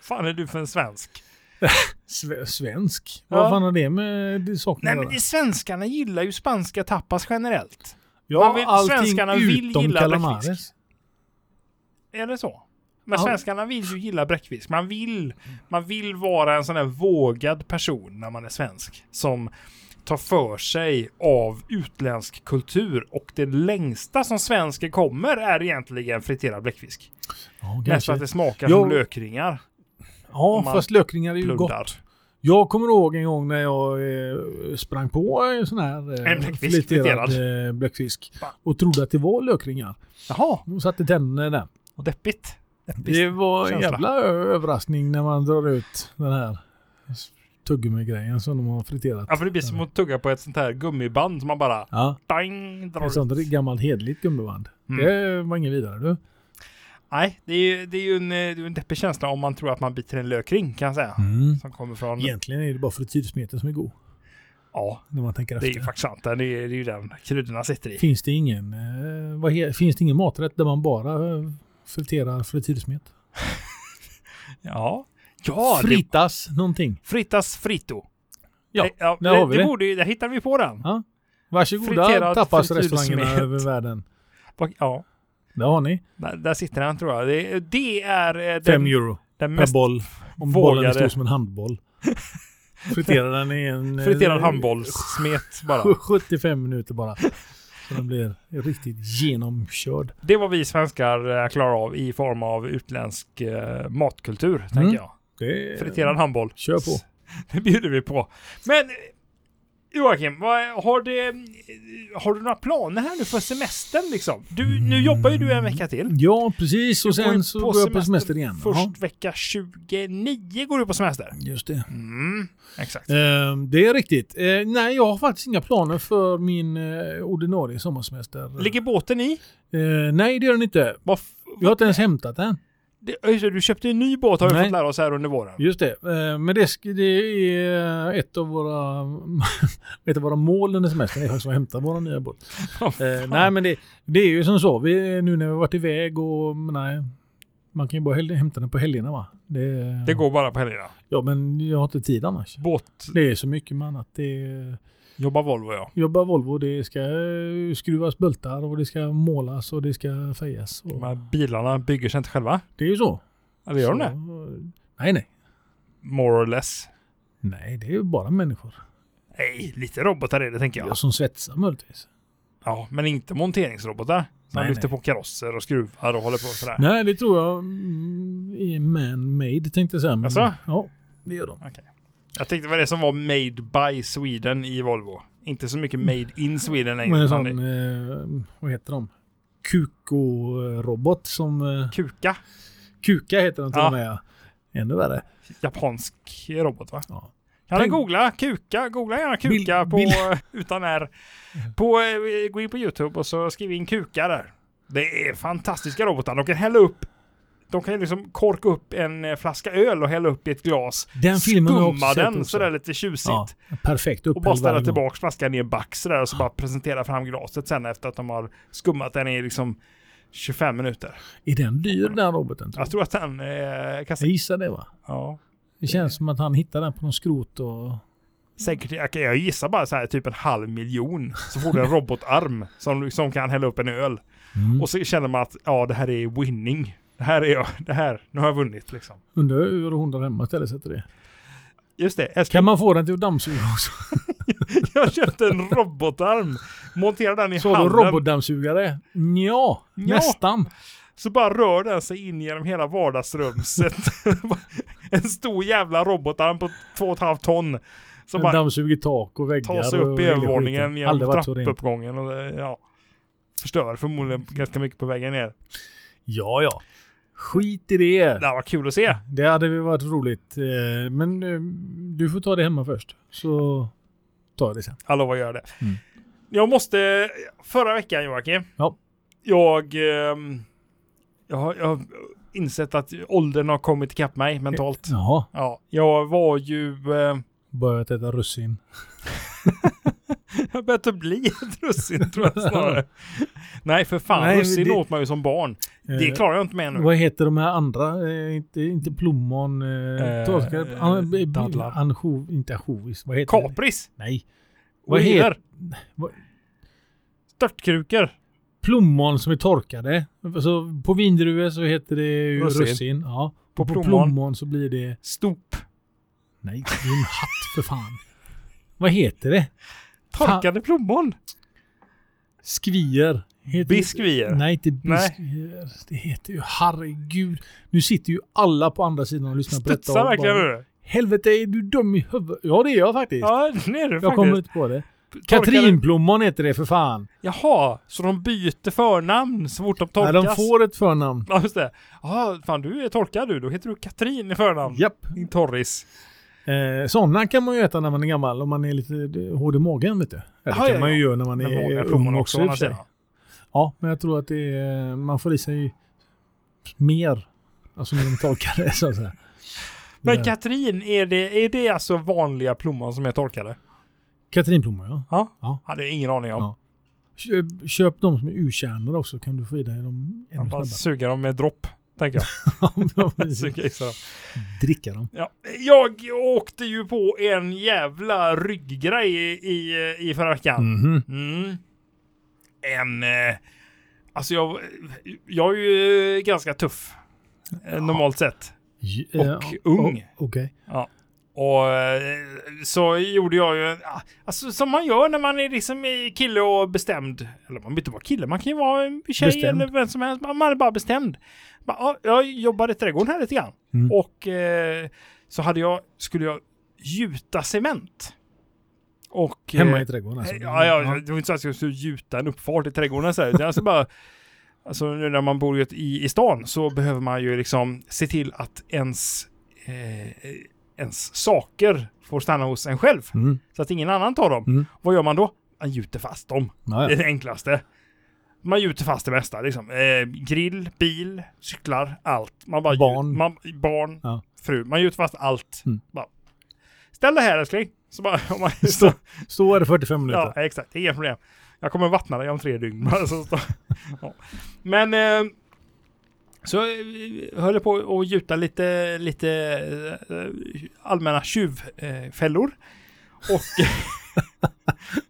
[SPEAKER 2] fan är du för en svensk?
[SPEAKER 1] Sve- svensk?
[SPEAKER 2] Ja.
[SPEAKER 1] Vad fan har det med det saken
[SPEAKER 2] Nej,
[SPEAKER 1] att
[SPEAKER 2] men
[SPEAKER 1] göra?
[SPEAKER 2] det, svenskarna gillar ju spanska tapas generellt.
[SPEAKER 1] Ja,
[SPEAKER 2] man vill-
[SPEAKER 1] allting
[SPEAKER 2] svenskarna vill
[SPEAKER 1] utom
[SPEAKER 2] gilla
[SPEAKER 1] calamares.
[SPEAKER 2] bläckfisk. Är det så? Men
[SPEAKER 1] Ja.
[SPEAKER 2] svenskarna vill ju gilla bläckfisk. Man vill, man vill vara en sån här vågad person när man är svensk. Som tar för sig av utländsk kultur. Och det längsta som svensker kommer är egentligen friterad bläckfisk.
[SPEAKER 1] Ja,
[SPEAKER 2] Nästan
[SPEAKER 1] kanske.
[SPEAKER 2] att det smakar
[SPEAKER 1] Jo.
[SPEAKER 2] som lökringar.
[SPEAKER 1] Ja,
[SPEAKER 2] om man
[SPEAKER 1] fast lökringar är ju gott.
[SPEAKER 2] Plundar.
[SPEAKER 1] Jag kommer ihåg en gång när jag eh, sprang på en sån här
[SPEAKER 2] En bläckfisk, friterad.
[SPEAKER 1] eh, bläckfisk
[SPEAKER 2] Va?
[SPEAKER 1] och trodde att det var lökringar.
[SPEAKER 2] Jaha,
[SPEAKER 1] De satte tänderna där.
[SPEAKER 2] och deppigt.
[SPEAKER 1] Det var en
[SPEAKER 2] känsla.
[SPEAKER 1] jävla ö- överraskning när man drar ut den här tuggummi-grejen som de har friterat.
[SPEAKER 2] Ja, för det blir som att tugga på ett sånt här gummiband som man bara...
[SPEAKER 1] Ja,
[SPEAKER 2] Dang, drar
[SPEAKER 1] ett sånt
[SPEAKER 2] ut.
[SPEAKER 1] gammalt hederligt gummiband.
[SPEAKER 2] Mm.
[SPEAKER 1] Det var inget vidare du.
[SPEAKER 2] Nej, det är ju, det är ju en, eh, det är ju en deppig känsla om man tror att man biter en lökring kan jag säga.
[SPEAKER 1] Mm.
[SPEAKER 2] Som kommer från...
[SPEAKER 1] Egentligen är det bara frityrsmeten som är god.
[SPEAKER 2] Ja,
[SPEAKER 1] När man tänker
[SPEAKER 2] det
[SPEAKER 1] efter.
[SPEAKER 2] är ju faktiskt sant. Det är, det är ju den kryddorna sitter i.
[SPEAKER 1] Finns det ingen, eh, vad he, finns det ingen maträtt där man bara eh, friterar frityrsmet?
[SPEAKER 2] Ja. Ja, det,
[SPEAKER 1] Fritas någonting.
[SPEAKER 2] frittas frito.
[SPEAKER 1] Ja,
[SPEAKER 2] det, ja
[SPEAKER 1] där har vi
[SPEAKER 2] det.
[SPEAKER 1] det.
[SPEAKER 2] borde ju, där hittar vi på den.
[SPEAKER 1] Ja. Varsågoda
[SPEAKER 2] Friterad
[SPEAKER 1] tapasrestaurangerna
[SPEAKER 2] frityrsmet.
[SPEAKER 1] över världen.
[SPEAKER 2] Och- Ja,
[SPEAKER 1] Där har ni.
[SPEAKER 2] där, där sitter den tror jag. Det, det är eh, den,
[SPEAKER 1] fem euro
[SPEAKER 2] den
[SPEAKER 1] per
[SPEAKER 2] mest
[SPEAKER 1] boll. Om bollen är
[SPEAKER 2] vågade-
[SPEAKER 1] stor som en handboll. Friterar den i en... eh,
[SPEAKER 2] friterad handbollssmet bara.
[SPEAKER 1] 75 minuter bara. Så den blir riktigt genomkörd.
[SPEAKER 2] Det var vi svenskar eh, klarar av i form av utländsk eh, matkultur,
[SPEAKER 1] Mm.
[SPEAKER 2] tänker jag.
[SPEAKER 1] Det är-
[SPEAKER 2] Friterad handboll.
[SPEAKER 1] Kör på.
[SPEAKER 2] Det bjuder vi på. Men eh, Joakim, vad, har, det, har du några planer här nu för semestern liksom? Du, nu jobbar ju du en vecka till.
[SPEAKER 1] Ja, precis. Och
[SPEAKER 2] Du går ju
[SPEAKER 1] Mm. sen så går jag på semester igen.
[SPEAKER 2] Först
[SPEAKER 1] Ja,
[SPEAKER 2] vecka 29 går du på semester.
[SPEAKER 1] just det.
[SPEAKER 2] Mm, exakt.
[SPEAKER 1] Ehm, det är riktigt. Eh, nej, jag har faktiskt inga planer för min eh, ordinarie sommarsemester.
[SPEAKER 2] Ligger båten i?
[SPEAKER 1] Eh, nej, det gör den inte.
[SPEAKER 2] Vad f-
[SPEAKER 1] Jag har inte ens hämtat den.
[SPEAKER 2] det, just det, du köpte en ny båt har vi
[SPEAKER 1] Nej.
[SPEAKER 2] fått lära oss här under våren.
[SPEAKER 1] Just det. Eh, men det, sk- det är eh, ett av våra, ett av våra mål under semestern. Det är faktiskt att hämta våra nya båt.
[SPEAKER 2] Vad
[SPEAKER 1] Eh,
[SPEAKER 2] fan?
[SPEAKER 1] nej, men det, det är ju som så. Vi, nu när vi har varit iväg och nej. Man kan ju bara häl- hämta den på helgerna va? Det,
[SPEAKER 2] Det går bara på helgerna.
[SPEAKER 1] Ja, men jag har inte tid annars.
[SPEAKER 2] Båt,
[SPEAKER 1] Det är så mycket med annat. Det är,
[SPEAKER 2] jobbar Volvo ja.
[SPEAKER 1] jobbar Volvo, det ska eh, skruvas bultar och det ska målas och det ska fejas.
[SPEAKER 2] De
[SPEAKER 1] Och
[SPEAKER 2] här bilarna bygger sig inte själva.
[SPEAKER 1] det är ju så.
[SPEAKER 2] Eller Mm. gör de
[SPEAKER 1] Så,
[SPEAKER 2] det?
[SPEAKER 1] eh, Nej, nej.
[SPEAKER 2] More or less.
[SPEAKER 1] Nej, det är ju bara människor.
[SPEAKER 2] Nej, lite robotar är det tänker jag.
[SPEAKER 1] Som svetsar möjligtvis.
[SPEAKER 2] Ja, men inte monteringsrobotar. Som
[SPEAKER 1] Nej,
[SPEAKER 2] lyfter
[SPEAKER 1] nej.
[SPEAKER 2] på karosser och skruvar och håller på sådär.
[SPEAKER 1] Nej, det tror jag mm, är man-made tänkte jag säga. men-
[SPEAKER 2] Jaså?
[SPEAKER 1] Ja, det gör de.
[SPEAKER 2] Jag tänkte det var det som var made by Sweden i Volvo. Inte så mycket made in Sweden längre.
[SPEAKER 1] Men en
[SPEAKER 2] utan
[SPEAKER 1] sån, eh, vad heter de? Kuko-robot som... Eh,
[SPEAKER 2] det- Kuka.
[SPEAKER 1] Kuka heter den till
[SPEAKER 2] Ja.
[SPEAKER 1] och med. ja. Ännu värre.
[SPEAKER 2] Japansk robot va?
[SPEAKER 1] Ja.
[SPEAKER 2] Kan ni
[SPEAKER 1] Tänk-
[SPEAKER 2] googla Kuka? Googla gärna Kuka
[SPEAKER 1] Bild-
[SPEAKER 2] på,
[SPEAKER 1] bild-
[SPEAKER 2] utan R. På, eh, gå in på YouTube och så skriv in Kuka där. Det är fantastiska robotar. De kan hälla upp De kan ju liksom korka upp en eh, flaska öl och hälla upp i ett glas.
[SPEAKER 1] Den filmen har jag också
[SPEAKER 2] Skumma
[SPEAKER 1] sett
[SPEAKER 2] den
[SPEAKER 1] också.
[SPEAKER 2] sådär lite tjusigt.
[SPEAKER 1] Ja, perfekt
[SPEAKER 2] Och
[SPEAKER 1] upphäll
[SPEAKER 2] bara ställa
[SPEAKER 1] varje gång.
[SPEAKER 2] tillbaka flaskan i en back sådär och så bara presentera fram glaset sen efter att de har skummat den i liksom 25 minuter.
[SPEAKER 1] Är den dyr den roboten? Tror
[SPEAKER 2] Jag
[SPEAKER 1] jag?
[SPEAKER 2] tror att den eh, kan...
[SPEAKER 1] jag gissar det va?
[SPEAKER 2] Ja.
[SPEAKER 1] Det känns som att han hittade den på någon skrot och...
[SPEAKER 2] Säkert, jag, jag gissar bara så här typ en halv miljon. Så får du en robotarm som, som kan hälla upp en öl.
[SPEAKER 1] Mm.
[SPEAKER 2] Och så känner man att ja, det här är winning. Det här är jag, det här, nu har jag vunnit liksom.
[SPEAKER 1] Undrar hur hon där hemma ställer sig till det.
[SPEAKER 2] Just det, jag,
[SPEAKER 1] Kan man få den till att dammsuga också?
[SPEAKER 2] jag köpte en robotarm. Monterade den i
[SPEAKER 1] Sa du
[SPEAKER 2] handen.
[SPEAKER 1] robotdammsugare? Nja,
[SPEAKER 2] Nja.
[SPEAKER 1] nästan.
[SPEAKER 2] Så bara rör den sig in genom hela vardagsrumset. en stor jävla robotarm på två och ett halvt ton. Som
[SPEAKER 1] Den
[SPEAKER 2] bara
[SPEAKER 1] dammsuger tak och väggar.
[SPEAKER 2] tar sig upp
[SPEAKER 1] och
[SPEAKER 2] i
[SPEAKER 1] hela
[SPEAKER 2] övervåningen
[SPEAKER 1] skiten.
[SPEAKER 2] genom
[SPEAKER 1] Aldrig varit så rent.
[SPEAKER 2] trappuppgången. Och, eh, ja, förstör förmodligen ganska mycket på vägen ner.
[SPEAKER 1] Ja, ja. Skit i det.
[SPEAKER 2] Det här var kul att se.
[SPEAKER 1] Det hade väl varit roligt. eh, Men eh, du får ta det hemma först. Så tar jag det sen.
[SPEAKER 2] Jag lovar att göra det.
[SPEAKER 1] Mm.
[SPEAKER 2] Jag måste... Förra veckan Joakim.
[SPEAKER 1] Ja.
[SPEAKER 2] Jag, ehm, jag, har, jag har insett att åldern har kommit ikapp mig mentalt.
[SPEAKER 1] Jaha,
[SPEAKER 2] Ja, jag var ju... Eh,
[SPEAKER 1] börjat äta russin.
[SPEAKER 2] jag har börjat att bli ett russin tror jag snarare. Nej för fan,
[SPEAKER 1] Nej, men
[SPEAKER 2] russin
[SPEAKER 1] det-
[SPEAKER 2] åt man ju som barn. Det
[SPEAKER 1] Eh,
[SPEAKER 2] klarar jag inte med nu.
[SPEAKER 1] Vad heter de här andra? Eh, inte, inte plommon, eh,
[SPEAKER 2] Eh,
[SPEAKER 1] torkade... an- b- b-
[SPEAKER 2] dadlar.
[SPEAKER 1] Anchov, inte ansjovis. Vad heter det?
[SPEAKER 2] Kapris!
[SPEAKER 1] Nej. Vad heter
[SPEAKER 2] Oliver!
[SPEAKER 1] vad-
[SPEAKER 2] Störtkrukor!
[SPEAKER 1] Plommon som är torkade. Så på vindruvor så heter det ju
[SPEAKER 2] Russin.
[SPEAKER 1] russin. Ja.
[SPEAKER 2] På
[SPEAKER 1] På, på
[SPEAKER 2] plommon.
[SPEAKER 1] plommon. så blir det...
[SPEAKER 2] Stop!
[SPEAKER 1] Nej, det är en hatt för fan. Vad heter det?
[SPEAKER 2] Torkade plommon!
[SPEAKER 1] Skvier. Heter
[SPEAKER 2] Biskvier.
[SPEAKER 1] Nej, inte biskvier. Det heter ju herregud. Nu sitter ju alla på andra sidan och lyssnar på detta.
[SPEAKER 2] Studsar
[SPEAKER 1] och
[SPEAKER 2] verkligen
[SPEAKER 1] bara,
[SPEAKER 2] nu.
[SPEAKER 1] Helvete, är du dum i huvudet? Ja, det är jag faktiskt.
[SPEAKER 2] Ja, det är det
[SPEAKER 1] jag kommer
[SPEAKER 2] faktiskt.
[SPEAKER 1] inte på det.
[SPEAKER 2] Torkade-
[SPEAKER 1] Katrinplommon heter det för fan.
[SPEAKER 2] Jaha, så de byter förnamn så fort de torkas?
[SPEAKER 1] När de får ett förnamn.
[SPEAKER 2] Ja, just det. Jaha, fan du är torkad du. Då heter du Katrin i förnamn.
[SPEAKER 1] Japp.
[SPEAKER 2] Din torris.
[SPEAKER 1] Eh, sådana kan man ju äta när man är gammal om man är lite eh, hård i magen. Vet du. Eller
[SPEAKER 2] Ja,
[SPEAKER 1] kan
[SPEAKER 2] ja,
[SPEAKER 1] man ju
[SPEAKER 2] ja.
[SPEAKER 1] göra när man
[SPEAKER 2] Men
[SPEAKER 1] är
[SPEAKER 2] vanliga
[SPEAKER 1] eh,
[SPEAKER 2] plommon
[SPEAKER 1] ung också. i och
[SPEAKER 2] å andra
[SPEAKER 1] för sig.
[SPEAKER 2] sidan.
[SPEAKER 1] Ja, men jag tror att det är, eh, man får i sig mer. Alltså när de torkar det så att säga. Eh,
[SPEAKER 2] Men
[SPEAKER 1] Ja.
[SPEAKER 2] Katrin, är det, är det alltså vanliga plommon som är torkade?
[SPEAKER 1] Katrinplommon ja.
[SPEAKER 2] Ja.
[SPEAKER 1] Ja.
[SPEAKER 2] Hade jag ingen aning om.
[SPEAKER 1] Ja. Köp, köp de som är urkärnor också kan du få i dig dem
[SPEAKER 2] Jag
[SPEAKER 1] ännu
[SPEAKER 2] bara suga dem med dropp, tänker jag.
[SPEAKER 1] snabbare.
[SPEAKER 2] suga i sig dem.
[SPEAKER 1] Dricka dem.
[SPEAKER 2] Ja. Jag åkte ju på en jävla rygggrej i, i, i förra veckan.
[SPEAKER 1] Mhm.
[SPEAKER 2] Mm. En... Eh, alltså jag, jag är ju eh, ganska tuff. eh, Normalt sett.
[SPEAKER 1] J-
[SPEAKER 2] Och
[SPEAKER 1] eh,
[SPEAKER 2] ung.
[SPEAKER 1] o- Okej.
[SPEAKER 2] Och eh, så gjorde jag ju... ah, Alltså som man gör när man är liksom eh, kille och bestämd. Eller man behöver inte vara kille, man kan ju vara en tjej
[SPEAKER 1] Bestämd.
[SPEAKER 2] eller vem som helst. Man man är bara bestämd. Bara, ah, Jag jobbar i trädgården här lite grann.
[SPEAKER 1] Mm.
[SPEAKER 2] Och eh, så hade jag, skulle jag gjuta cement. Och, eh,
[SPEAKER 1] Hemma i trädgården alltså.
[SPEAKER 2] Ja, ja, ja, det var inte så att jag skulle gjuta en uppfart i trädgården så här, utan jag skulle bara Alltså nu när man bor ju ett- i, i stan så behöver man ju liksom se till att ens, eh, ens saker får stanna hos en själv.
[SPEAKER 1] Mm.
[SPEAKER 2] Så att ingen annan tar dem.
[SPEAKER 1] Mm.
[SPEAKER 2] Vad gör man då? Man gjuter fast dem.
[SPEAKER 1] Ja,
[SPEAKER 2] Det
[SPEAKER 1] ja.
[SPEAKER 2] är det enklaste. Man gjuter fast det mesta liksom. Eh, grill, bil, cyklar, allt. Man bara
[SPEAKER 1] Barn.
[SPEAKER 2] man, barn
[SPEAKER 1] Ja.
[SPEAKER 2] fru. Man gjuter fast allt.
[SPEAKER 1] Mm.
[SPEAKER 2] Bara, Ställ det här älskling. Så bara, om man,
[SPEAKER 1] Stå- Stå här i 45 minuter.
[SPEAKER 2] Ja, exakt. Det är inga problem. Jag kommer vattna dig om tre dygn. bara så stå- ja. Men eh, så eh, höll jag på att gjuta lite, lite eh, allmänna tjuvfällor. Och,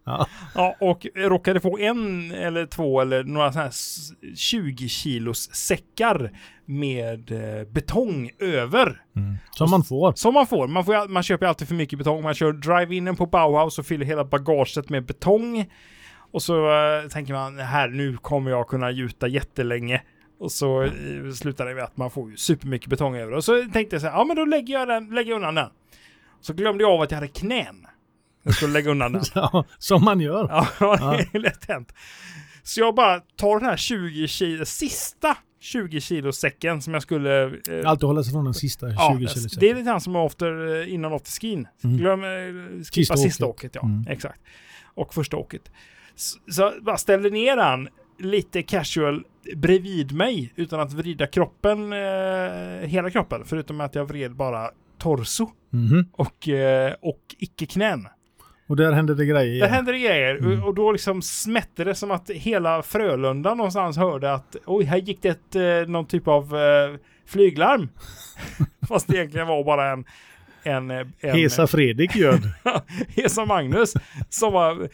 [SPEAKER 1] Ja.
[SPEAKER 2] ja, och råkade få en eller två eller några sådana här s- 20 kilos säckar med eh, betong över.
[SPEAKER 1] Mm. Som man får.
[SPEAKER 2] Som man får. Man, får ju all- man köper ju alltid för mycket betong. Man kör drive-inen på Bauhaus och fyller hela bagaget med betong. Och så eh, tänker man här nu kommer jag kunna gjuta jättelänge. Och så eh, slutar det med att man får ju supermycket betong över. Och så tänkte jag så här, ja men då lägger jag, den, lägger jag undan den. Så glömde jag av att jag hade knän. Jag skulle lägga undan den.
[SPEAKER 1] Ja, som man gör.
[SPEAKER 2] Ja, det är lätt hänt. Så jag bara tar den här 20 kilo, sista 20 kilo säcken som jag skulle eh,
[SPEAKER 1] Alltid hålla sig från den sista 20
[SPEAKER 2] Ja, alltså,
[SPEAKER 1] kilo.
[SPEAKER 2] det är lite grann som after, eh, innan afterskin.
[SPEAKER 1] Mm.
[SPEAKER 2] Glöm, eh,
[SPEAKER 1] Sista
[SPEAKER 2] skippa sista
[SPEAKER 1] åket.
[SPEAKER 2] åket. Ja,
[SPEAKER 1] Mm.
[SPEAKER 2] exakt. Och första åket. Så, så bara ställer ner den lite casual bredvid mig utan att vrida kroppen, eh, hela kroppen, förutom att jag vred bara torso
[SPEAKER 1] Mhm.
[SPEAKER 2] och, eh, och icke knän.
[SPEAKER 1] Och där hände det grejer
[SPEAKER 2] Där
[SPEAKER 1] igen.
[SPEAKER 2] hände det grejer
[SPEAKER 1] Mm.
[SPEAKER 2] och- och då liksom smätte det som att hela Frölunda någonstans hörde att oj, här gick det ett, eh, någon typ av eh, flyglarm. Fast det egentligen var bara en, en, eh, en
[SPEAKER 1] Hesa Fredrik gör
[SPEAKER 2] Hesa Magnus som var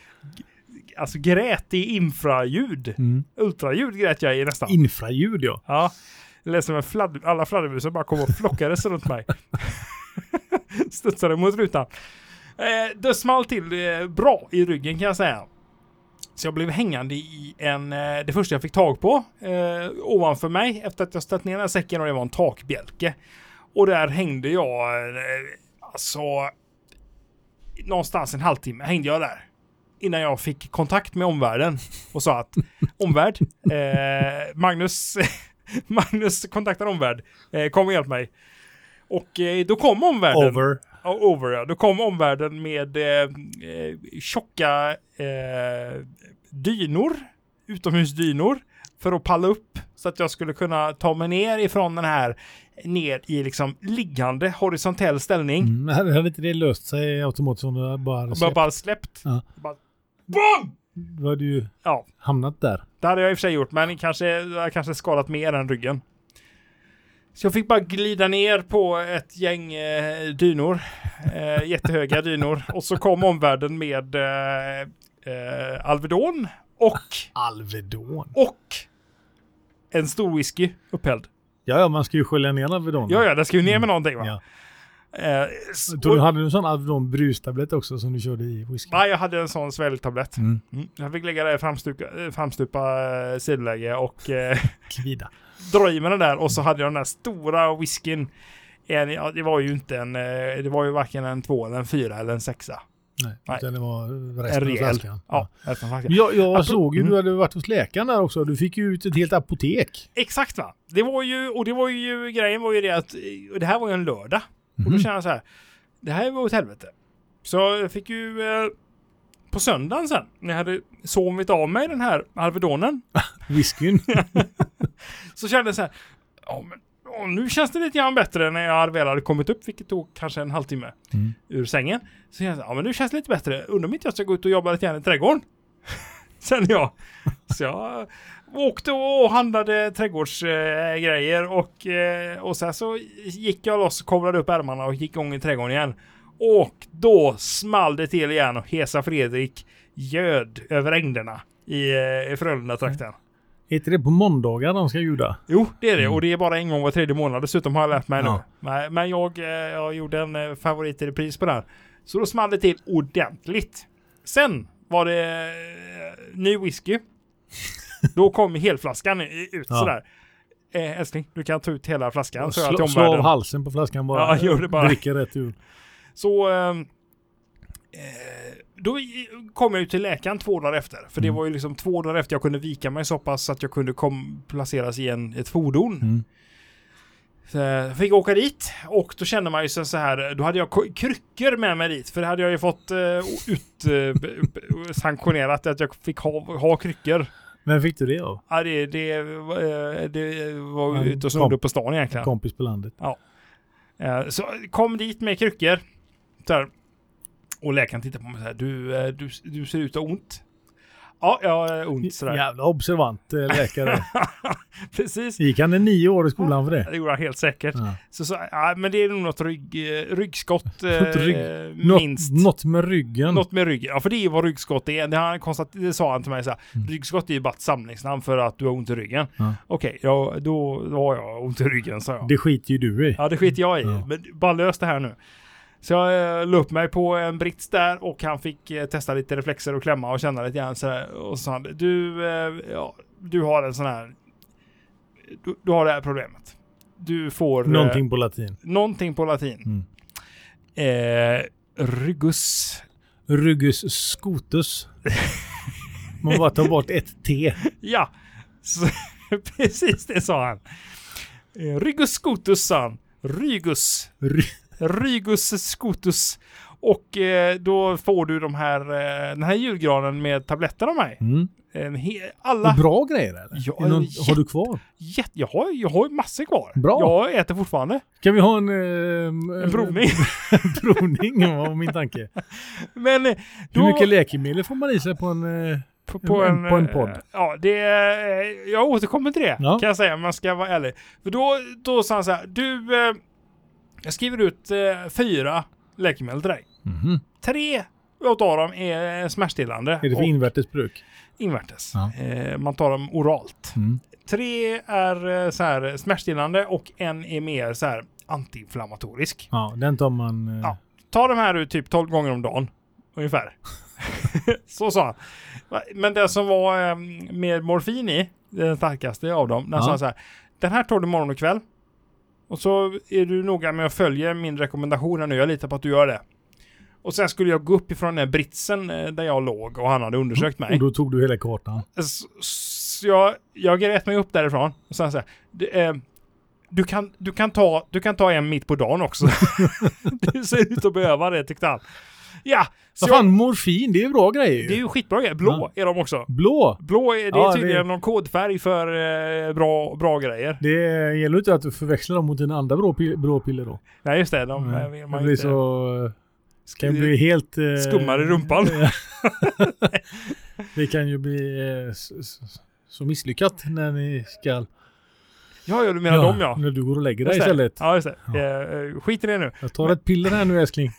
[SPEAKER 2] alltså grät i infraljud.
[SPEAKER 1] mm.
[SPEAKER 2] Ultraljud grät jag i nästan.
[SPEAKER 1] Infraljud ja.
[SPEAKER 2] Ja, det lät som en fladd, alla fladdermusen bara kom och flockades runt mig. Studsade mot rutan. Eh, det small till eh, bra i ryggen kan jag säga. Så jag blev hängande i en, eh, det första jag fick tag på eh, ovanför mig efter att jag ställt ner den här säcken och det var en takbjälke. Och där hängde jag, eh, alltså, någonstans en halvtimme hängde jag där. Innan jag fick kontakt med omvärlden och sa att omvärld, eh, Magnus, Magnus kontaktar omvärld, eh, kom och hjälp mig. Och eh, då kom omvärlden.
[SPEAKER 1] Over.
[SPEAKER 2] Ja, Over ja. Då kom omvärlden med eh, eh, tjocka eh, dynor, utomhusdynor, för att palla upp så att jag skulle kunna ta mig ner ifrån den här ner i liksom liggande horisontell ställning.
[SPEAKER 1] Mm. Hade hade inte det löst sig automatiskt om du bara hade
[SPEAKER 2] Och bara,
[SPEAKER 1] släppt?
[SPEAKER 2] bara släppt.
[SPEAKER 1] Ja.
[SPEAKER 2] Bara, BOOM!
[SPEAKER 1] Då hade du ju
[SPEAKER 2] Ja,
[SPEAKER 1] hamnat där.
[SPEAKER 2] det hade jag i och för sig gjort, men kanske, jag hade kanske skadat mer än ryggen. Så jag fick bara glida ner på ett gäng eh, dynor. Eh, jättehöga dynor. Och så kom omvärlden med eh, eh, Alvedon och,
[SPEAKER 1] Alvedon.
[SPEAKER 2] och en stor whisky upphälld.
[SPEAKER 1] Ja, ja, man ska ju skölja ner Alvedon.
[SPEAKER 2] Ja, ja, det ska ju ner med någonting va?
[SPEAKER 1] Mm. Ja.
[SPEAKER 2] Eh, s-
[SPEAKER 1] Tror
[SPEAKER 2] och-
[SPEAKER 1] du hade du en sån Alvedon brustablett också som du körde i whisky?
[SPEAKER 2] Nej, jag hade en sån sväljtablett.
[SPEAKER 1] Mm.
[SPEAKER 2] Mm. Jag fick lägga det i framstupa, eh, framstupa eh, sidoläge och eh,
[SPEAKER 1] Kvida.
[SPEAKER 2] dra i mig den där och så hade jag den där stora whiskyn. En, ja, det var ju inte en, eh, det var ju varken en två eller en fyra eller en sexa.
[SPEAKER 1] Nej,
[SPEAKER 2] Nej.
[SPEAKER 1] utan det var resten
[SPEAKER 2] En
[SPEAKER 1] av
[SPEAKER 2] rejäl.
[SPEAKER 1] flaskan.
[SPEAKER 2] Ja, resten av flaskan.
[SPEAKER 1] Jag, jag
[SPEAKER 2] Apro-
[SPEAKER 1] såg ju,
[SPEAKER 2] Mm.
[SPEAKER 1] du hade varit hos läkaren där också. Du fick ju ut ett helt apotek.
[SPEAKER 2] Exakt va. Det var ju, och det var ju, grejen var ju det att, eh, och det här var ju en lördag. Och då
[SPEAKER 1] Mhm.
[SPEAKER 2] kände jag så här, det här var åt helvete. Så jag fick ju eh, på söndagen sen, när jag hade sovit av mig den här Alvedonen,
[SPEAKER 1] Whiskyn.
[SPEAKER 2] så kände jag så här, ja men ja, nu känns det lite grann bättre när jag väl hade kommit upp, vilket tog kanske en halvtimme
[SPEAKER 1] Mm.
[SPEAKER 2] ur sängen. Så kände jag, ja men nu känns det lite bättre, undrar om inte jag ska gå ut och jobba lite grann i trädgården. Kände jag. Så jag åkte och handlade trädgårdsgrejer eh, grejer och, eh, och sen så gick jag loss, kavlade upp ärmarna och gick igång i trädgården igen. Och då small det till igen och Hesa Fredrik göd över ängderna i, eh, i Frölunda-trakten.
[SPEAKER 1] Är inte det på måndagar de ska ljuda?
[SPEAKER 2] Jo, det är det. Och det är bara en gång var tredje månad dessutom har jag lärt mig nu.
[SPEAKER 1] Mm. Ja.
[SPEAKER 2] Men, men jag, eh, jag gjorde en eh, favorit i repris på den. här. Så då small det till ordentligt. Sen var det eh, ny whisky. då kom helflaskan i- ut
[SPEAKER 1] Ja.
[SPEAKER 2] sådär. Eh, älskling, du kan ta ut hela flaskan. sa jag till
[SPEAKER 1] Slå, slå av
[SPEAKER 2] Alltså, omvärlden.
[SPEAKER 1] halsen på flaskan bara.
[SPEAKER 2] Ja, gör det bara.
[SPEAKER 1] Dricker rätt ur.
[SPEAKER 2] Så ehm, eh, då i- kom jag ju till läkaren två dagar efter. För det
[SPEAKER 1] Mm.
[SPEAKER 2] var ju liksom två dagar efter jag kunde vika mig så pass att jag kunde kom, placeras i en, ett fordon.
[SPEAKER 1] Mm.
[SPEAKER 2] Så jag fick åka dit och då kände man ju sig så här, då hade jag k- kryckor med mig dit. För det hade jag ju fått eh, ut, eh, b- b- sanktionerat att jag fick ha, ha kryckor.
[SPEAKER 1] Men fick du det av?
[SPEAKER 2] Ja, det, det, eh, det var
[SPEAKER 1] Ja,
[SPEAKER 2] ju ute och snodde
[SPEAKER 1] kom-
[SPEAKER 2] på stan egentligen.
[SPEAKER 1] Kompis på landet.
[SPEAKER 2] Eh, Så kom dit med kryckor. Så här. Och läkaren tittade på mig så här. Du, eh, du, du ser ut att ha ont. Ja, jag har eh, ont sådär.
[SPEAKER 1] Jävla observant eh, läkare.
[SPEAKER 2] Precis.
[SPEAKER 1] Gick han i nio år i skolan för det?
[SPEAKER 2] Det gjorde han helt säkert.
[SPEAKER 1] Ja.
[SPEAKER 2] Så sa jag, "Ja, men det är nog något rygg, eh, ryggskott
[SPEAKER 1] Något rygg-
[SPEAKER 2] eh, minst.
[SPEAKER 1] Något, något med ryggen.
[SPEAKER 2] Något med ryggen. Ja, för det är ju vad ryggskott är. Det, har han konstat, det sa han till mig så här.
[SPEAKER 1] Mm.
[SPEAKER 2] Ryggskott är ju bara ett samlingsnamn för att du har ont i ryggen.
[SPEAKER 1] Ja.
[SPEAKER 2] Okej, ja, då, då har jag ont i ryggen, sa jag.
[SPEAKER 1] Det skiter ju du i.
[SPEAKER 2] Ja, det skiter jag i.
[SPEAKER 1] Ja.
[SPEAKER 2] Men bara lös det här nu. Så jag eh, la upp mig på en brits där och han fick eh, testa lite reflexer och klämma och känna lite grann sådär. Och så sa han, du, eh, ja, du har en sån här, du, du har det här problemet. Du får eh,
[SPEAKER 1] Någonting Mm. på latin.
[SPEAKER 2] någonting på latin. Eh, ryggus.
[SPEAKER 1] Ryggus scotus. Man bara tar bort ett T.
[SPEAKER 2] Ja, så, precis det sa han. Eh, Ryggus scotus sa han. Rygus.
[SPEAKER 1] Ry-
[SPEAKER 2] Rygus scotus. Och eh, då får du de här, eh, den här julgranen med tabletter av mig.
[SPEAKER 1] Mm.
[SPEAKER 2] En he-
[SPEAKER 1] Det är
[SPEAKER 2] alla,
[SPEAKER 1] bra grejer eller?
[SPEAKER 2] Ja,
[SPEAKER 1] Är någon,
[SPEAKER 2] jätte-
[SPEAKER 1] Har du kvar?
[SPEAKER 2] jätte, jag, har, jag har ju massor kvar.
[SPEAKER 1] Bra.
[SPEAKER 2] Jag äter fortfarande.
[SPEAKER 1] Kan vi ha en... ehm,
[SPEAKER 2] En provning.
[SPEAKER 1] provning var min tanke.
[SPEAKER 2] Men eh, då,
[SPEAKER 1] Hur mycket läkemedel får man i sig på en... eh,
[SPEAKER 2] på, på, en,
[SPEAKER 1] på en podd?
[SPEAKER 2] Ja, det, eh, jag återkommer till det
[SPEAKER 1] Ja.
[SPEAKER 2] kan jag säga, man ska vara ärlig. För då, då sa han så här, du, eh, jag skriver ut eh, fyra läkemedel till dig.
[SPEAKER 1] Mhm.
[SPEAKER 2] Tre utav dem är eh, smärtstillande.
[SPEAKER 1] Är det för
[SPEAKER 2] och
[SPEAKER 1] invärtes bruk?
[SPEAKER 2] invärtes.
[SPEAKER 1] Ja.
[SPEAKER 2] Eh, man tar dem oralt.
[SPEAKER 1] Mm.
[SPEAKER 2] Tre är eh, så här smärtstillande och en är mer så här antiinflammatorisk.
[SPEAKER 1] Ja, den tar man... eh,
[SPEAKER 2] Ja. Ta de här ut typ 12 gånger om dagen. Ungefär. så sa han. Va- Men den som var eh, med morfin i, den starkaste av dem, den
[SPEAKER 1] Ja.
[SPEAKER 2] sa han så här. Den här tar du morgon och kväll. Och så är du noga med att följa min rekommendation här nu. Jag litar på att du gör det. Och sen skulle jag gå upp ifrån den här britsen eh, där jag låg och han hade undersökt mig.
[SPEAKER 1] Mm. Och då tog du hela kartan.
[SPEAKER 2] S- s- jag, jag grät mig upp därifrån och sen så här, "Du, eh, du, kan, du, kan ta, du kan ta en mitt på dagen också. du ser ut att behöva det tyckte han. Ja, så
[SPEAKER 1] Vad
[SPEAKER 2] jag,
[SPEAKER 1] fan, morfin, det är bra grejer
[SPEAKER 2] det är
[SPEAKER 1] ju.
[SPEAKER 2] ju skitbra grejer. Blå är de också.
[SPEAKER 1] Blå!
[SPEAKER 2] Blå är, det
[SPEAKER 1] Ja,
[SPEAKER 2] är tydligen
[SPEAKER 1] det-
[SPEAKER 2] någon kodfärg för eh, bra, bra grejer.
[SPEAKER 1] Det gäller ju inte att du förväxlar dem mot dina andra blå, pi- blå piller då.
[SPEAKER 2] Nej just det, de eh,
[SPEAKER 1] Nej,
[SPEAKER 2] vill
[SPEAKER 1] det
[SPEAKER 2] man ju
[SPEAKER 1] blir
[SPEAKER 2] inte.
[SPEAKER 1] så... eh, Kan ju bli helt... Eh,
[SPEAKER 2] skummar i rumpan.
[SPEAKER 1] det kan ju bli eh, s- s- så misslyckat när ni ska...
[SPEAKER 2] Ja, ja, du menar dem ja.
[SPEAKER 1] När du går och lägger dig
[SPEAKER 2] Just det.
[SPEAKER 1] istället.
[SPEAKER 2] Ja, just det. Eh, eh, skit i det nu.
[SPEAKER 1] Jag tar ett piller här nu älskling.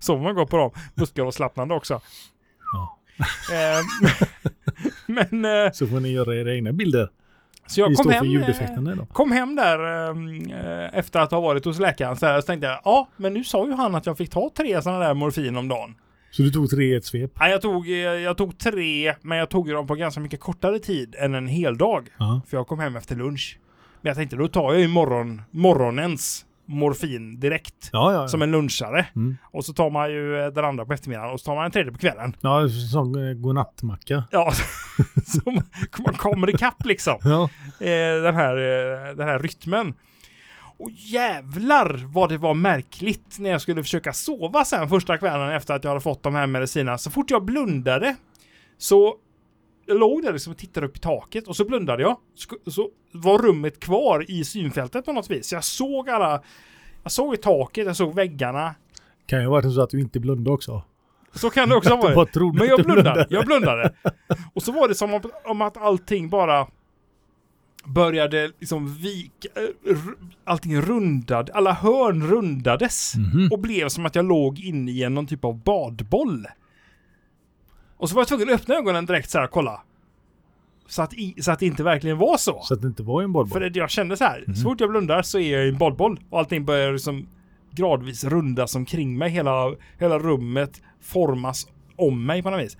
[SPEAKER 2] Sover man gott på dem. Buskar och slappnande också.
[SPEAKER 1] Ja.
[SPEAKER 2] Eh, men... eh,
[SPEAKER 1] Så får ni göra era egna bilder.
[SPEAKER 2] så jag
[SPEAKER 1] Vi
[SPEAKER 2] kom
[SPEAKER 1] står för
[SPEAKER 2] hem... eh,
[SPEAKER 1] ljudeffekterna idag.
[SPEAKER 2] kom hem där ehm, eh, efter att ha varit hos läkaren så, här, så tänkte jag, ja men nu sa ju han att jag fick ta tre sådana där morfin om dagen.
[SPEAKER 1] Så du tog tre i ett svep?
[SPEAKER 2] Nej, jag tog, eh, jag tog tre, men jag tog ju dem på ganska mycket kortare tid än en hel dag.
[SPEAKER 1] Ja.
[SPEAKER 2] För jag kom hem efter lunch. Men jag tänkte, då tar jag ju morgon, morgonens morfin direkt.
[SPEAKER 1] Ja, ja.
[SPEAKER 2] Som
[SPEAKER 1] Som
[SPEAKER 2] en lunchare.
[SPEAKER 1] Mm.
[SPEAKER 2] Och så tar man ju eh, den andra på eftermiddagen och så tar man en tredje på kvällen.
[SPEAKER 1] ja, som eh, godnattmacka.
[SPEAKER 2] Ja, så man, man kommer ikapp liksom.
[SPEAKER 1] Ja.
[SPEAKER 2] eh, den, här, eh, den här rytmen. Och jävlar vad det var märkligt när jag skulle försöka sova sen första kvällen efter att jag hade fått de här medicinerna. Så fort jag blundade så jag låg där liksom och tittade upp i taket och så blundade jag. Sk- Så var rummet kvar i synfältet på något vis. Så jag såg alla, jag såg i taket, jag såg väggarna.
[SPEAKER 1] Kan ju ha varit så att du inte blundade också.
[SPEAKER 2] Så kan det också ha
[SPEAKER 1] Du
[SPEAKER 2] varit.
[SPEAKER 1] bara trodde
[SPEAKER 2] Men
[SPEAKER 1] att du
[SPEAKER 2] jag blundade. Jag blundade. Och så var det som om, om att allting bara började liksom vika, eh, r- allting rundade, alla hörn rundades.
[SPEAKER 1] Mhm.
[SPEAKER 2] Och blev som att jag låg inne i en- någon typ av badboll. Och så var jag tvungen att öppna ögonen direkt så här, kolla. Så att, i, så att det inte verkligen var så.
[SPEAKER 1] Så att det inte var en bollboll.
[SPEAKER 2] För det, jag kände så här,
[SPEAKER 1] Mhm.
[SPEAKER 2] så fort jag blundar så är jag i en badboll. Och allting börjar liksom gradvis rundas omkring mig. Hela, hela rummet formas om mig på något vis.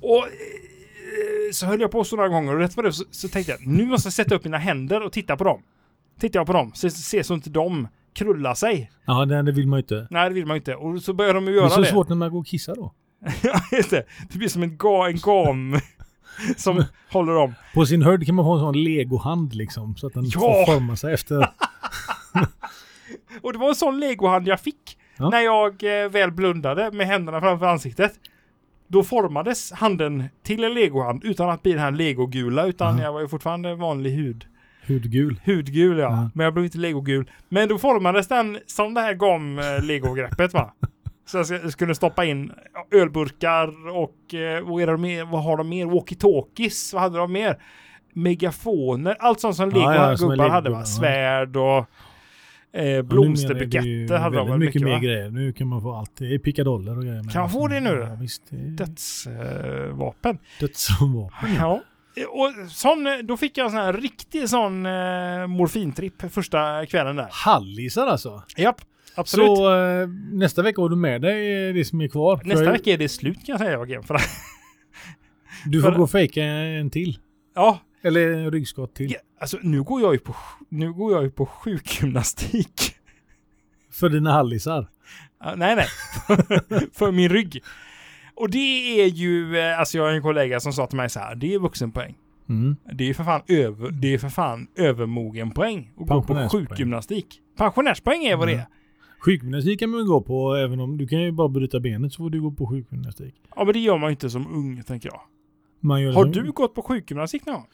[SPEAKER 2] Och eh, så höll jag på så några gånger och rätt vad det var så, så tänkte jag, nu måste jag sätta upp mina händer och titta på dem. Tittar jag på dem, så ser så inte de krulla sig.
[SPEAKER 1] Ja, nej, det vill man ju inte.
[SPEAKER 2] Nej, det vill man ju inte. Och så börjar de ju
[SPEAKER 1] Det är
[SPEAKER 2] göra
[SPEAKER 1] så
[SPEAKER 2] det.
[SPEAKER 1] svårt när man går och kissar då.
[SPEAKER 2] Ja, just det. Det blir som en, ga, en gam som håller om.
[SPEAKER 1] På sin höjd kan man ha en sån legohand liksom. Så att den
[SPEAKER 2] Ja!
[SPEAKER 1] får forma sig efter.
[SPEAKER 2] Och det var en sån legohand jag fick.
[SPEAKER 1] Ja.
[SPEAKER 2] När jag eh, väl blundade med händerna framför ansiktet. Då formades handen till en legohand utan att bli den här legogula. Utan
[SPEAKER 1] Ja.
[SPEAKER 2] jag var ju fortfarande vanlig hud.
[SPEAKER 1] Hudgul.
[SPEAKER 2] Hudgul ja.
[SPEAKER 1] Ja.
[SPEAKER 2] Men jag blev inte legogul. Men då formades den som det här gam-legogreppet va. Så jag sk- skulle stoppa in ölburkar och eh, vad, är det mer? vad har de mer? Walkie-talkies? Vad hade de mer? Megafoner? Allt sånt som
[SPEAKER 1] Ja, ja, som
[SPEAKER 2] legogubbar
[SPEAKER 1] en lego-
[SPEAKER 2] hade va?
[SPEAKER 1] ja.
[SPEAKER 2] Svärd och
[SPEAKER 1] Ja,
[SPEAKER 2] eh,
[SPEAKER 1] numera är det ju
[SPEAKER 2] blomsterbuketter hade de
[SPEAKER 1] väldigt
[SPEAKER 2] väl
[SPEAKER 1] mycket,
[SPEAKER 2] mycket,
[SPEAKER 1] mer
[SPEAKER 2] va?
[SPEAKER 1] grejer. Nu kan man få allt. Det är pickadoller och grejer. med. Alltså,
[SPEAKER 2] Kan man få det nu?
[SPEAKER 1] Ja, visst. Det är
[SPEAKER 2] Dödsvapen. Eh, vapen.
[SPEAKER 1] Dödsvapen.
[SPEAKER 2] Ja. Och sån, då fick jag en sån här riktig sån eh, morfintripp första kvällen där.
[SPEAKER 1] Hallisar alltså.
[SPEAKER 2] Japp, absolut.
[SPEAKER 1] Så eh, nästa vecka har du med dig eh, det som är kvar. För
[SPEAKER 2] Nästa
[SPEAKER 1] jag-
[SPEAKER 2] vecka är det slut kan jag säga Joakim. För,
[SPEAKER 1] Du får
[SPEAKER 2] för-
[SPEAKER 1] gå och fejka en till.
[SPEAKER 2] ja,
[SPEAKER 1] Eller en ryggskott till.
[SPEAKER 2] ja, alltså nu går jag ju på, sj- nu går jag ju på sjukgymnastik.
[SPEAKER 1] För dina hallisar.
[SPEAKER 2] Ja, nej, nej. för min rygg. Och det är ju, eh, alltså jag har en kollega som sa till mig så här, det är vuxenpoäng.
[SPEAKER 1] Mm.
[SPEAKER 2] Det är för fan, över, det är för fan övermogen poäng. Och gå på
[SPEAKER 1] Pensionärspoäng.
[SPEAKER 2] sjukgymnastik. Pensionärspoäng är vad det är.
[SPEAKER 1] Sjukgymnastik kan man ju gå på även om du kan ju bara bryta benet så får du gå på sjukgymnastik.
[SPEAKER 2] Ja, men det gör man ju inte som ung, tänker jag.
[SPEAKER 1] Man gör
[SPEAKER 2] Har
[SPEAKER 1] som-
[SPEAKER 2] du gått på sjukgymnastik någon gång?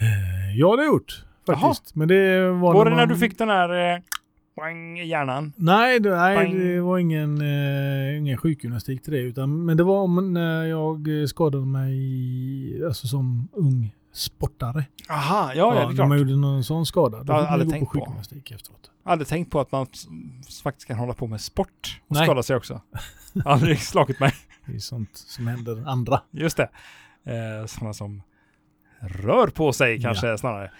[SPEAKER 1] Eh, Ja det har jag gjort faktiskt.
[SPEAKER 2] Jaha.
[SPEAKER 1] Men det var,
[SPEAKER 2] Var det
[SPEAKER 1] man-
[SPEAKER 2] när du fick den här eh, poäng i hjärnan?
[SPEAKER 1] Nej, det, nej
[SPEAKER 2] Bang.
[SPEAKER 1] det var ingen, eh, ingen sjukgymnastik till det. Utan, men det var om när jag eh, skadade mig i- alltså som ung sportare.
[SPEAKER 2] Aha, ja, ja det är
[SPEAKER 1] när man
[SPEAKER 2] klart.
[SPEAKER 1] gjorde någon sån skada. Då
[SPEAKER 2] har
[SPEAKER 1] fick man
[SPEAKER 2] aldrig
[SPEAKER 1] ju gå
[SPEAKER 2] tänkt
[SPEAKER 1] på
[SPEAKER 2] på.
[SPEAKER 1] sjukgymnastik efteråt.
[SPEAKER 2] Jag hade tänkt på att man s- s- faktiskt kan hålla på med sport och
[SPEAKER 1] Nej.
[SPEAKER 2] skada sig också. Aldrig slagit mig.
[SPEAKER 1] Det är sånt som händer andra.
[SPEAKER 2] Just det. Eh, sådana som rör på sig kanske snarare. Det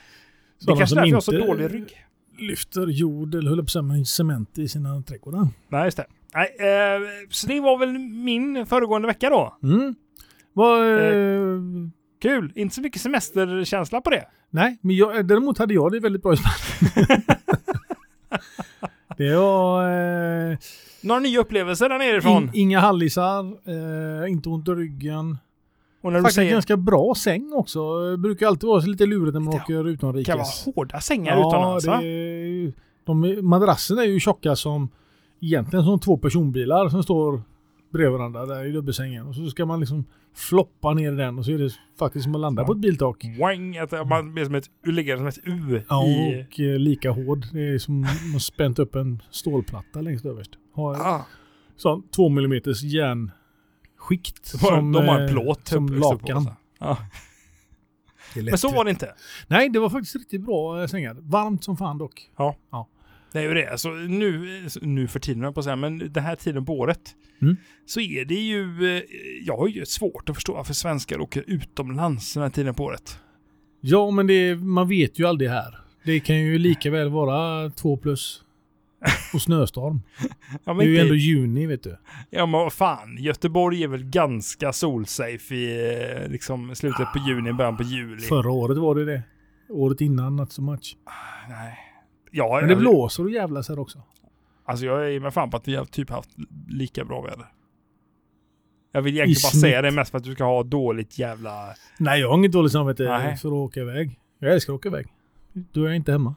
[SPEAKER 1] Sådana
[SPEAKER 2] kanske
[SPEAKER 1] som
[SPEAKER 2] är därför jag har så
[SPEAKER 1] inte-
[SPEAKER 2] dålig rygg.
[SPEAKER 1] Lyfter jord eller höll på att säga, men cement i sina trädgårdar.
[SPEAKER 2] Nej, just det. Nej, eh, så det var väl min föregående vecka då.
[SPEAKER 1] Mm. Vad, eh,
[SPEAKER 2] Kul! Inte så mycket semesterkänsla på det.
[SPEAKER 1] Nej, men jag, eh, däremot hade jag det väldigt bra i Spanien. det var eh,
[SPEAKER 2] Några nya upplevelser där nerifrån.
[SPEAKER 1] in, inga hallisar, eh, inte ont i ryggen.
[SPEAKER 2] och när du
[SPEAKER 1] Faktiskt
[SPEAKER 2] säger
[SPEAKER 1] ganska bra säng också. Det brukar alltid vara så lite lurigt när man
[SPEAKER 2] Det
[SPEAKER 1] åker
[SPEAKER 2] det
[SPEAKER 1] utomrikes.
[SPEAKER 2] kan vara hårda sängar utomlands
[SPEAKER 1] det,
[SPEAKER 2] va?
[SPEAKER 1] är ju- de, är- Madrassen är ju tjocka som egentligen som två personbilar som står bredvid varandra där i dubbelsängen. Och så ska man liksom floppa ner i den och så är det faktiskt som att landa på ett biltak.
[SPEAKER 2] Wang, att man blir som ett, ligger som ett U
[SPEAKER 1] Ja,
[SPEAKER 2] i...
[SPEAKER 1] och eh, lika hård. Det är som att man spänt upp en stålplatta längst överst. Har
[SPEAKER 2] Ah,
[SPEAKER 1] sån två millimeters järnskikt.
[SPEAKER 2] som, de har en
[SPEAKER 1] eh,
[SPEAKER 2] plåt typ,
[SPEAKER 1] som
[SPEAKER 2] uppe- uppe på
[SPEAKER 1] lakan.
[SPEAKER 2] så. Ja. Men så var det inte.
[SPEAKER 1] Nej, det var faktiskt riktigt bra eh, sängar. Varmt som fan dock.
[SPEAKER 2] Det är ju det. Alltså, nu, nu för tiden, höll jag på att säga, men den här tiden på året.
[SPEAKER 1] Mm.
[SPEAKER 2] Så är det ju... eh, Jag har ju svårt att förstå varför svenskar åker utomlands den här tiden på året.
[SPEAKER 1] Ja, men det, är- man vet ju aldrig här. Det kan ju lika väl vara två plus och snöstorm.
[SPEAKER 2] Ja,
[SPEAKER 1] Det är
[SPEAKER 2] men
[SPEAKER 1] ju
[SPEAKER 2] inte,
[SPEAKER 1] ändå juni, vet du.
[SPEAKER 2] ja, men vad fan. Göteborg är väl ganska solsafe i eh, liksom, slutet på juni, början på juli.
[SPEAKER 1] Förra året var det det. Året innan, not so much.
[SPEAKER 2] Nej. Ja,
[SPEAKER 1] Men det
[SPEAKER 2] jag-
[SPEAKER 1] blåser och jävlas här också.
[SPEAKER 2] Alltså jag är med fan på att vi har typ haft lika bra väder. Jag vill
[SPEAKER 1] I
[SPEAKER 2] egentligen bara
[SPEAKER 1] snitt.
[SPEAKER 2] säga det mest för att du ska ha dåligt jävla...
[SPEAKER 1] Nej, jag har inget dåligt samvete
[SPEAKER 2] Nej.
[SPEAKER 1] för att åka iväg. Jag älskar att åka iväg. Då är jag inte hemma.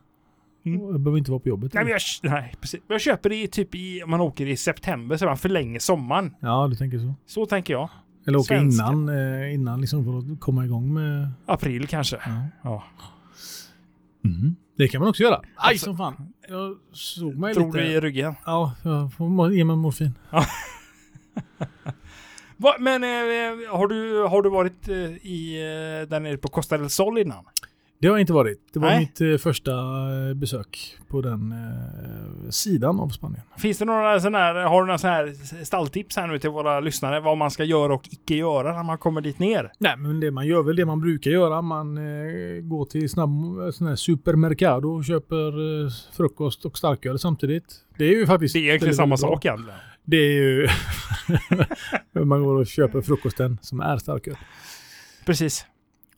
[SPEAKER 2] Mm.
[SPEAKER 1] Och Jag behöver inte vara på jobbet.
[SPEAKER 2] Nej, men jag, nej precis. Men Jag köper det i typ i... Om man åker i september så man förlänger sommaren.
[SPEAKER 1] Ja, du tänker så.
[SPEAKER 2] Så tänker jag.
[SPEAKER 1] Eller åka
[SPEAKER 2] Svenska.
[SPEAKER 1] innan, eh, innan liksom för att komma igång med...
[SPEAKER 2] April kanske.
[SPEAKER 1] Ja.
[SPEAKER 2] Ja.
[SPEAKER 1] Det kan man också göra. Aj
[SPEAKER 2] Alltså-
[SPEAKER 1] som fan. Jag såg mig
[SPEAKER 2] Tror
[SPEAKER 1] lite.
[SPEAKER 2] du i ryggen.
[SPEAKER 1] Ja, jag får må- ge mig morfin.
[SPEAKER 2] Va, men eh, har, du, har du varit eh, i, eh, där nere på Costa del Sol innan?
[SPEAKER 1] Det har inte varit. Det var
[SPEAKER 2] Nej.
[SPEAKER 1] mitt eh, första eh, besök på den eh, sidan av Spanien.
[SPEAKER 2] Finns det några sådana här, har du några sådana här stalltips här nu till våra lyssnare? Vad man ska göra och icke göra när man kommer dit ner?
[SPEAKER 1] Nej, men det, man gör väl det man brukar göra. Man eh, går till snabb, sån här supermercado och köper eh, frukost och starköl samtidigt. Det är ju faktiskt...
[SPEAKER 2] Det är egentligen
[SPEAKER 1] väldigt,
[SPEAKER 2] samma
[SPEAKER 1] väldigt bra.
[SPEAKER 2] sak egentligen.
[SPEAKER 1] Det är ju... man går och köper frukosten som är starköl.
[SPEAKER 2] Precis.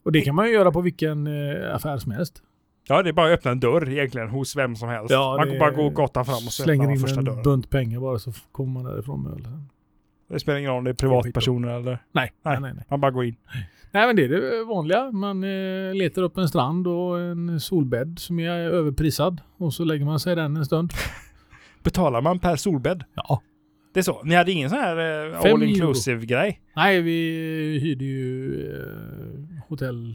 [SPEAKER 1] Och det kan man ju göra på vilken eh, affär som helst.
[SPEAKER 2] Ja, det är bara att öppna en dörr egentligen hos vem som helst.
[SPEAKER 1] Ja,
[SPEAKER 2] man
[SPEAKER 1] det-
[SPEAKER 2] kan bara gå gatan fram och så öppnar
[SPEAKER 1] Slänger
[SPEAKER 2] man
[SPEAKER 1] in
[SPEAKER 2] första
[SPEAKER 1] en
[SPEAKER 2] dörren.
[SPEAKER 1] bunt pengar bara så f- kommer man därifrån med öl.
[SPEAKER 2] Det spelar ingen roll om det är privatpersoner eller...
[SPEAKER 1] Nej, nej,
[SPEAKER 2] Nej.
[SPEAKER 1] nej. nej.
[SPEAKER 2] Man bara går in.
[SPEAKER 1] Nej men det är det vanliga. Man eh, letar upp en strand och en solbädd som är överprisad. Och så lägger man sig i den en stund.
[SPEAKER 2] Betalar man per solbädd?
[SPEAKER 1] Ja.
[SPEAKER 2] Det är så. Ni hade ingen sån här eh,
[SPEAKER 1] Fem
[SPEAKER 2] all inclusive-grej?
[SPEAKER 1] Nej, vi hyrde ju eh, hotell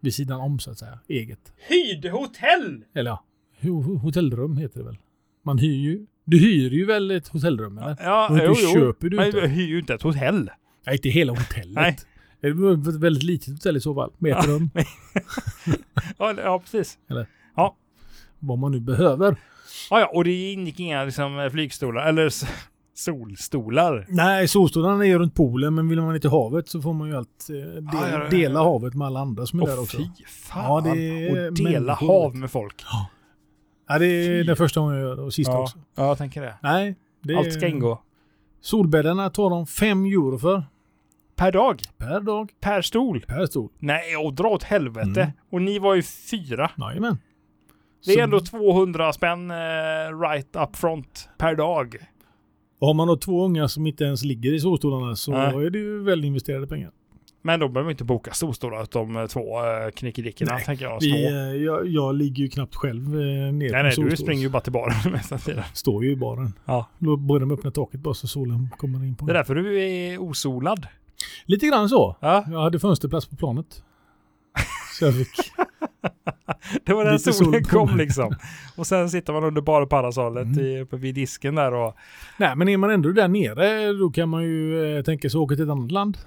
[SPEAKER 1] vid sidan om så att säga. Eget.
[SPEAKER 2] Hyrde hotell!
[SPEAKER 1] Eller ja, ho- hotellrum heter det väl? Man hyr ju. Du hyr ju väl ett hotellrum eller?
[SPEAKER 2] Ja,
[SPEAKER 1] Och du
[SPEAKER 2] jo, jo.
[SPEAKER 1] köper du
[SPEAKER 2] Men
[SPEAKER 1] inte.
[SPEAKER 2] jag hyr ju inte ett hotell.
[SPEAKER 1] Nej, inte hela hotellet.
[SPEAKER 2] Nej.
[SPEAKER 1] Det var ett väldigt litet hotell i så fall. Med ett rum.
[SPEAKER 2] Ja, eller- ja precis.
[SPEAKER 1] Vad man nu behöver.
[SPEAKER 2] Ja, ja, och det ingick inga liksom, flygstolar eller s- solstolar.
[SPEAKER 1] Nej, solstolarna är ju runt poolen, men vill man inte havet så får man ju allt eh, del,
[SPEAKER 2] Ja, ja, ja, ja.
[SPEAKER 1] dela havet med alla andra som är där
[SPEAKER 2] Och
[SPEAKER 1] också.
[SPEAKER 2] fy fan!
[SPEAKER 1] Ja, det är
[SPEAKER 2] och dela
[SPEAKER 1] människor.
[SPEAKER 2] hav med folk.
[SPEAKER 1] Ja, det
[SPEAKER 2] fy.
[SPEAKER 1] är den första gången jag gör det och sista
[SPEAKER 2] Ja,
[SPEAKER 1] också.
[SPEAKER 2] ja, jag tänker det.
[SPEAKER 1] Nej, det
[SPEAKER 2] Allt ska
[SPEAKER 1] är-
[SPEAKER 2] ingå.
[SPEAKER 1] Solbäddarna tar de 5 euro för.
[SPEAKER 2] Per dag.
[SPEAKER 1] Per dag,
[SPEAKER 2] Per stol.
[SPEAKER 1] per stol.
[SPEAKER 2] Nej, och dra åt helvete.
[SPEAKER 1] Mm.
[SPEAKER 2] Och ni var ju fyra.
[SPEAKER 1] Jajamän.
[SPEAKER 2] Det är
[SPEAKER 1] Så-
[SPEAKER 2] ändå 200 spänn eh, right up front per dag.
[SPEAKER 1] och Har man då två unga som inte ens ligger i solstolarna så
[SPEAKER 2] Nej.
[SPEAKER 1] är det ju välinvesterade pengar.
[SPEAKER 2] Men då behöver vi inte boka storstolar åt de två eh, knickedickorna tänker jag.
[SPEAKER 1] Vi,
[SPEAKER 2] Vi,
[SPEAKER 1] eh, jag, jag ligger ju knappt själv eh, ner
[SPEAKER 2] nej, nej,
[SPEAKER 1] på
[SPEAKER 2] du
[SPEAKER 1] solstol.
[SPEAKER 2] springer ju bara till baren mesta tiden.
[SPEAKER 1] Står ju i baren.
[SPEAKER 2] Ja.
[SPEAKER 1] Låt börja med öppna taket bara så solen kommer in på
[SPEAKER 2] Det är
[SPEAKER 1] en.
[SPEAKER 2] därför du är osolad.
[SPEAKER 1] Lite grann så.
[SPEAKER 2] Ja,
[SPEAKER 1] Jag hade fönsterplats på planet. Så jag fick.
[SPEAKER 2] det var där
[SPEAKER 1] Lite
[SPEAKER 2] solen
[SPEAKER 1] sol på
[SPEAKER 2] kom
[SPEAKER 1] mig.
[SPEAKER 2] liksom. Och sen sitter man under bar och parasollet
[SPEAKER 1] Mm.
[SPEAKER 2] i- uppe vid disken där och
[SPEAKER 1] Nej, men är man ändå där nere då kan man ju eh, tänka sig att åka till ett annat land.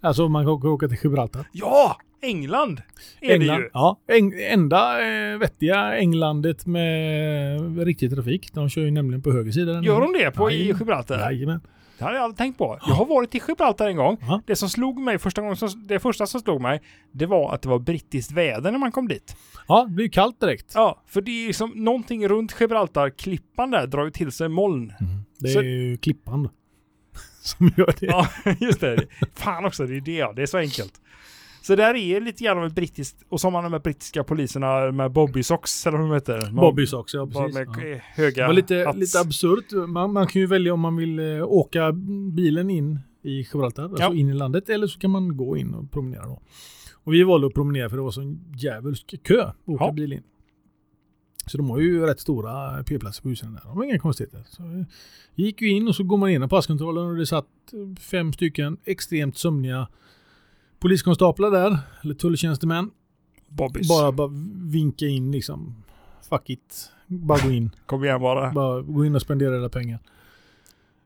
[SPEAKER 1] alltså man kan åka- åka till Gibraltar.
[SPEAKER 2] ja, England är det ju.
[SPEAKER 1] Ja, Eng enda eh, vettiga Englandet med riktig trafik. De kör ju nämligen på höger sida. den
[SPEAKER 2] Gör
[SPEAKER 1] här.
[SPEAKER 2] de det på i
[SPEAKER 1] Jajamän.
[SPEAKER 2] Gibraltar?
[SPEAKER 1] Jajamän.
[SPEAKER 2] Det hade jag aldrig tänkt på. Jag har varit i Gibraltar en gång.
[SPEAKER 1] Ja.
[SPEAKER 2] Det som slog mig första gången, som, det första som slog mig, det var att det var brittiskt väder när man kom dit.
[SPEAKER 1] Ja, det blir ju kallt direkt.
[SPEAKER 2] Ja, för det är ju som någonting runt Gibraltar-klippan där drar ju till sig moln.
[SPEAKER 1] Det är
[SPEAKER 2] Så-
[SPEAKER 1] ju klippan som gör det.
[SPEAKER 2] Ja, just det. Fan också, det är det. ja. Det är så enkelt. Så där är lite grann av ett brittiskt, och som de här brittiska poliserna med bobbysocks, eller vad de heter.
[SPEAKER 1] Bobbys också, ja
[SPEAKER 2] Bara
[SPEAKER 1] precis.
[SPEAKER 2] med
[SPEAKER 1] Ja.
[SPEAKER 2] k- höga
[SPEAKER 1] Det var lite,
[SPEAKER 2] hats.
[SPEAKER 1] lite absurt. Man, man kan ju välja om man vill eh, åka bilen in i Gibraltar,
[SPEAKER 2] Ja.
[SPEAKER 1] alltså in i landet, eller så kan man gå in och promenera då. Och vi valde att promenera för det var sån djävulsk kö att åka
[SPEAKER 2] Ja.
[SPEAKER 1] bil in. Så de har ju rätt stora eh, p-platser på husen där. De har inga konstigheter. Så eh, gick ju in och så går man in i passkontrollen och det satt eh, fem stycken extremt sömniga poliskonstaplar där, eller tulltjänstemän.
[SPEAKER 2] Bobbys.
[SPEAKER 1] Bara, bara vinka in liksom. Fuck it. Bara gå in.
[SPEAKER 2] Kom igen bara.
[SPEAKER 1] Bara gå in och spendera era pengar.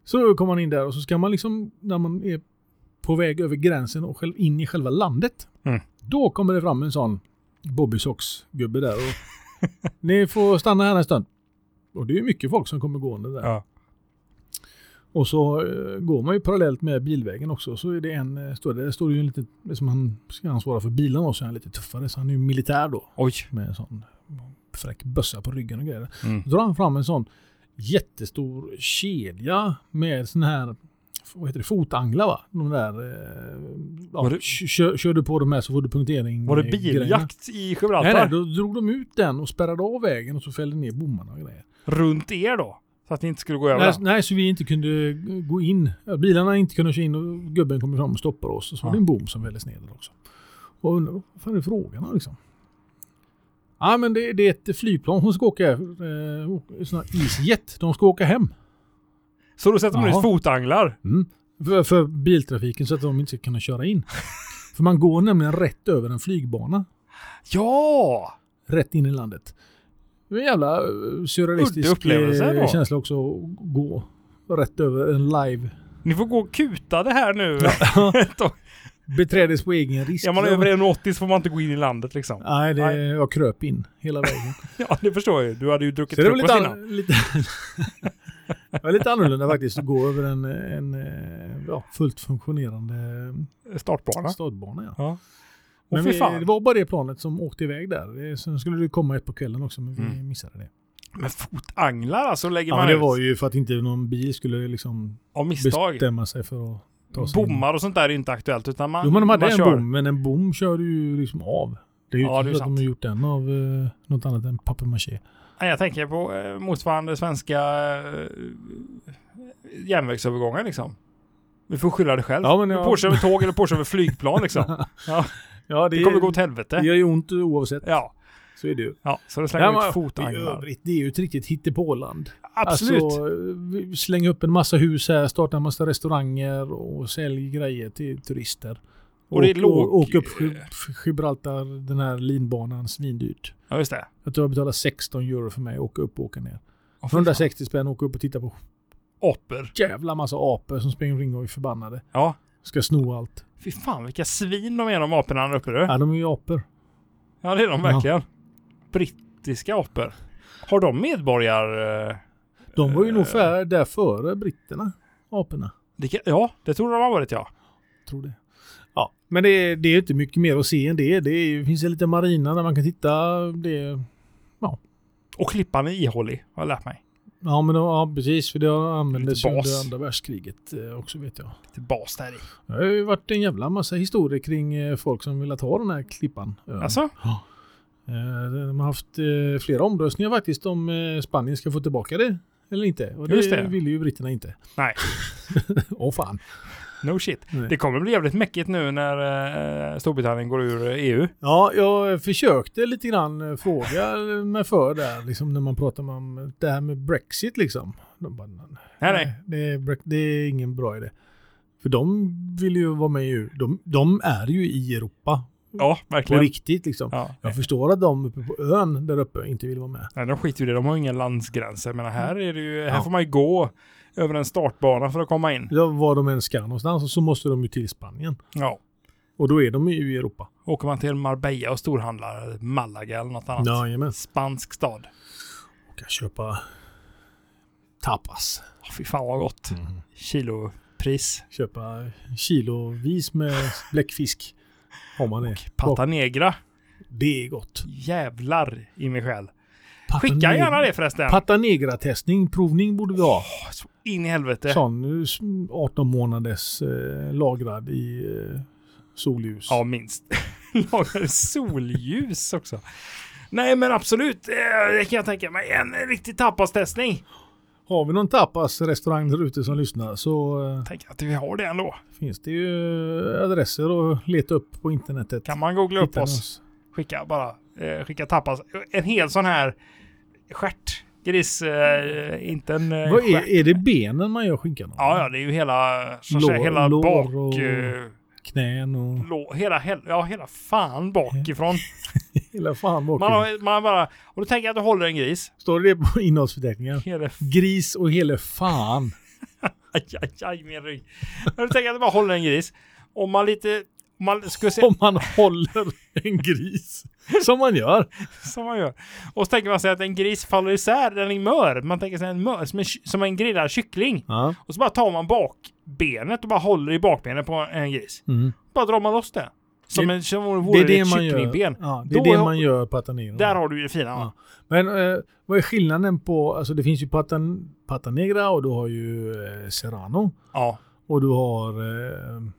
[SPEAKER 1] Så kommer man in där och så ska man liksom, när man är på väg över gränsen och själv in i själva landet.
[SPEAKER 2] Mm.
[SPEAKER 1] Då kommer det fram en sån Bobby Socks-gubbe där och ni får stanna här en stund. Och det är ju mycket folk som kommer gående där.
[SPEAKER 2] Ja.
[SPEAKER 1] Och så eh, går man ju parallellt med bilvägen också. Så är det en, eh, står det, där står det ju en lite, som han ska ansvara för bilen och så är han lite tuffare. Så han är ju militär då
[SPEAKER 2] Oj.
[SPEAKER 1] med en sån fräck bössa på ryggen och grejer.
[SPEAKER 2] Mm.
[SPEAKER 1] Då drar han fram en sån jättestor kedja med sån här vad heter det, fotanglar va? De där... Eh, ja,
[SPEAKER 2] Var det-
[SPEAKER 1] kö- kör, kör du på de här så får du punktering.
[SPEAKER 2] Var det
[SPEAKER 1] eh, grejerna.
[SPEAKER 2] biljakt i
[SPEAKER 1] Nej,
[SPEAKER 2] Gibraltar?
[SPEAKER 1] nej, då drog de ut den och spärrade av vägen och så fällde ner bommarna och grejer.
[SPEAKER 2] Runt er då? Så att ni inte skulle gå över
[SPEAKER 1] Nej, alltså-
[SPEAKER 2] den.
[SPEAKER 1] nej, så vi inte kunde gå in. Bilarna inte kunde köra in och gubben kommer fram och stoppar oss. Och så var
[SPEAKER 2] Ja.
[SPEAKER 1] det en bom som väldes ner där också. Och undrar, vad fan är frågan om liksom? Ja, men det, det är ett flygplan som ska åka, eh, åka- sån här isjet. De ska åka hem.
[SPEAKER 2] Så då sätter man ut
[SPEAKER 1] Jaha.
[SPEAKER 2] fotanglar?
[SPEAKER 1] Mm. För, för biltrafiken så att de inte ska kunna köra in. för man går nämligen rätt över en flygbana.
[SPEAKER 2] Ja!
[SPEAKER 1] Rätt in i landet. Det är en jävla eh, surrealistisk
[SPEAKER 2] Udda upplevelse
[SPEAKER 1] eh,
[SPEAKER 2] då.
[SPEAKER 1] känsla också att gå rätt över en live
[SPEAKER 2] Ni får gå och kuta det här nu.
[SPEAKER 1] Beträdes på egen risk.
[SPEAKER 2] Är man över 1,80 så får man inte gå in i landet liksom.
[SPEAKER 1] Nej, det,
[SPEAKER 2] Nej.
[SPEAKER 1] jag kröp in hela vägen.
[SPEAKER 2] Ja, det förstår jag ju. Du hade ju druckit
[SPEAKER 1] Så det var
[SPEAKER 2] frukost
[SPEAKER 1] lite,
[SPEAKER 2] innan.
[SPEAKER 1] an- lite, det var lite annorlunda faktiskt att gå över en, en eh, ja, fullt funktionerande
[SPEAKER 2] Startbana.
[SPEAKER 1] stadbana. Ja.
[SPEAKER 2] Ja. Och
[SPEAKER 1] Men
[SPEAKER 2] fy
[SPEAKER 1] vi,
[SPEAKER 2] fan.
[SPEAKER 1] det var bara det planet som åkte iväg där. Det- Sen skulle det komma ett på kvällen också, men vi
[SPEAKER 2] Mm.
[SPEAKER 1] missade det.
[SPEAKER 2] Men fotanglar alltså lägger
[SPEAKER 1] Ja,
[SPEAKER 2] man
[SPEAKER 1] men det var
[SPEAKER 2] ut
[SPEAKER 1] ju för att inte någon bil skulle liksom
[SPEAKER 2] av misstag.
[SPEAKER 1] bestämma sig för att ta sig in.
[SPEAKER 2] Bommar och sånt där är ju inte aktuellt utan man
[SPEAKER 1] Jo, men de hade
[SPEAKER 2] man
[SPEAKER 1] en
[SPEAKER 2] kör.
[SPEAKER 1] bom, men en bom kör du ju liksom av. Det är ju
[SPEAKER 2] Ja, det är
[SPEAKER 1] inte så att
[SPEAKER 2] sant.
[SPEAKER 1] de har gjort den av eh, något annat än papier-maché.
[SPEAKER 2] Nej, Jag tänker på eh, motsvarande svenska eh, järnvägsövergångar liksom. Du får skylla dig själv.
[SPEAKER 1] Ja, men
[SPEAKER 2] Du
[SPEAKER 1] ja.
[SPEAKER 2] Porsche över tåg eller Porsche över flygplan liksom.
[SPEAKER 1] Ja,
[SPEAKER 2] Det kommer gå åt helvete.
[SPEAKER 1] Det gör ju ont oavsett.
[SPEAKER 2] Ja,
[SPEAKER 1] Så är det ju.
[SPEAKER 2] ja. så då slänger
[SPEAKER 1] Nej,
[SPEAKER 2] man
[SPEAKER 1] men
[SPEAKER 2] ut
[SPEAKER 1] i
[SPEAKER 2] fotanglar.
[SPEAKER 1] övrigt, det är ju ett riktigt hittepåland.
[SPEAKER 2] Absolut.
[SPEAKER 1] Alltså, vi- släng upp en massa hus här, starta en massa restauranger och sälj grejer till turister.
[SPEAKER 2] Och det är låg- eh,
[SPEAKER 1] åk upp Gib- Gibraltar, den här linbanan, svindyrt.
[SPEAKER 2] ja, just det.
[SPEAKER 1] Jag tror jag betalade 16 euro för mig att åka upp och åka ner.
[SPEAKER 2] Och för
[SPEAKER 1] 160 spänn åka upp och titta på
[SPEAKER 2] apor.
[SPEAKER 1] jävla massa apor som springer omkring och är förbannade.
[SPEAKER 2] Ja.
[SPEAKER 1] Ska sno allt.
[SPEAKER 2] Fy fan vilka svin de är de aporna där uppe du.
[SPEAKER 1] Ja, de är ju apor.
[SPEAKER 2] Ja det är de
[SPEAKER 1] Ja.
[SPEAKER 2] verkligen. Brittiska apor. Har de medborgar... eh,
[SPEAKER 1] De var ju nog
[SPEAKER 2] Eh.
[SPEAKER 1] för, där före britterna, aporna.
[SPEAKER 2] det kan- Ja, det tror de har varit ja.
[SPEAKER 1] tror det. Ja, men det är, det är inte mycket mer att se än det. Det är, finns en liten marina där man kan titta. Det är,
[SPEAKER 2] Och klippan är ihålig, har jag lärt mig.
[SPEAKER 1] ja, men det, ja, precis. För det användes ju
[SPEAKER 2] Lite bas.
[SPEAKER 1] under andra världskriget eh, också vet jag.
[SPEAKER 2] Lite bas där i.
[SPEAKER 1] Det har ju varit en jävla massa historier kring eh, folk som velat ha den här klippan. ön.
[SPEAKER 2] Alltså?
[SPEAKER 1] Eh, De har haft eh, flera omröstningar faktiskt om eh, Spanien ska få tillbaka det eller inte. Och det,
[SPEAKER 2] Just det.
[SPEAKER 1] ville ju britterna inte.
[SPEAKER 2] Nej.
[SPEAKER 1] Åh fan.
[SPEAKER 2] No shit.
[SPEAKER 1] Nej.
[SPEAKER 2] Det kommer bli jävligt mäckigt nu när eh, Storbritannien går ur E EU.
[SPEAKER 1] Ja, jag försökte lite grann eh, fråga mig för där, liksom när man pratar om det här med Brexit liksom. De bara,
[SPEAKER 2] Nej, nej.
[SPEAKER 1] Det är, Brex- det är ingen bra idé. För de vill ju vara med i EU. De, de är ju i Europa
[SPEAKER 2] Ja,
[SPEAKER 1] på
[SPEAKER 2] verkligen.
[SPEAKER 1] riktigt liksom.
[SPEAKER 2] Ja.
[SPEAKER 1] Jag förstår att de uppe på ön där uppe inte vill vara med.
[SPEAKER 2] Nej, de skiter ju i det. De har ju inga landsgränser. Men här, är det ju, här
[SPEAKER 1] Mm. Ja.
[SPEAKER 2] får man ju gå över en startbana för att komma in.
[SPEAKER 1] Ja, Var de än ska någonstans så måste de ju till Spanien.
[SPEAKER 2] Ja.
[SPEAKER 1] Och då är de ju i Europa.
[SPEAKER 2] Åker man till Marbella och storhandlar, eller Malaga eller något annat.
[SPEAKER 1] Jajamän.
[SPEAKER 2] Spansk stad.
[SPEAKER 1] Kan köpa tapas.
[SPEAKER 2] Oh, fy fan vad gott.
[SPEAKER 1] Mm.
[SPEAKER 2] Kilopris.
[SPEAKER 1] Köpa kilovis med bläckfisk. Har man det.
[SPEAKER 2] Pata negra.
[SPEAKER 1] Det är gott.
[SPEAKER 2] Jävlar i mig själ.
[SPEAKER 1] Pata
[SPEAKER 2] Skicka
[SPEAKER 1] neg-
[SPEAKER 2] gärna det förresten.
[SPEAKER 1] Pata negra-testning, provning borde vi ha.
[SPEAKER 2] Åh, så Alltså, in i helvete.
[SPEAKER 1] Sån eh, s- 18 månaders eh, lagrad i eh, solljus.
[SPEAKER 2] Ja, minst. Lagar solljus också. Nej, men absolut. eh, Det kan jag tänka mig. En riktig tapastestning.
[SPEAKER 1] Har vi någon tapas-restaurang där ute som lyssnar så eh,
[SPEAKER 2] Tänk att vi har det ändå.
[SPEAKER 1] finns det ju adresser att leta upp på internetet.
[SPEAKER 2] Kan man googla upp
[SPEAKER 1] Hittar
[SPEAKER 2] oss? Skicka bara. Eh, skicka tapas. En hel sån här stjärt. Gris. Eh, inte en eh,
[SPEAKER 1] Vad är,
[SPEAKER 2] stjärt.
[SPEAKER 1] är det benen man gör skinkan av?
[SPEAKER 2] Ja, ja, det är ju hela, så att
[SPEAKER 1] Lår-
[SPEAKER 2] säga, hela
[SPEAKER 1] lår
[SPEAKER 2] bak...
[SPEAKER 1] och-
[SPEAKER 2] eh,
[SPEAKER 1] Knän och
[SPEAKER 2] lå, hela, hel, ja, hela fan bakifrån.
[SPEAKER 1] hela fan bakom.
[SPEAKER 2] Man, har, man bara... Och då tänker jag att du håller en gris.
[SPEAKER 1] Står det på innehållsförteckningen?
[SPEAKER 2] Hela
[SPEAKER 1] Gris och hela fan.
[SPEAKER 2] Aj, aj, aj, min rygg. Men du tänker att du bara håller en gris. Om man lite... Om man skulle se
[SPEAKER 1] Om man håller en gris. Som man gör.
[SPEAKER 2] som man gör. Och så tänker man sig att en gris faller isär, den är mör. Man tänker sig en mör, som en, ky- som en grillad kyckling.
[SPEAKER 1] Ja.
[SPEAKER 2] Och så bara tar man bakbenet och bara håller i bakbenet på en gris.
[SPEAKER 1] Mm.
[SPEAKER 2] Bara drar man loss det. Som,
[SPEAKER 1] Det-
[SPEAKER 2] en, som om det
[SPEAKER 1] Det
[SPEAKER 2] vore
[SPEAKER 1] är det
[SPEAKER 2] ett
[SPEAKER 1] man gör.
[SPEAKER 2] kycklingben.
[SPEAKER 1] Ja, det är
[SPEAKER 2] Då
[SPEAKER 1] det
[SPEAKER 2] har-
[SPEAKER 1] man gör på Atanero.
[SPEAKER 2] Där har du ju det fina. va?
[SPEAKER 1] Men eh, vad är skillnaden på, alltså det finns ju Patan, Patanegra och du har ju eh, Serrano.
[SPEAKER 2] Ja.
[SPEAKER 1] Och du har eh,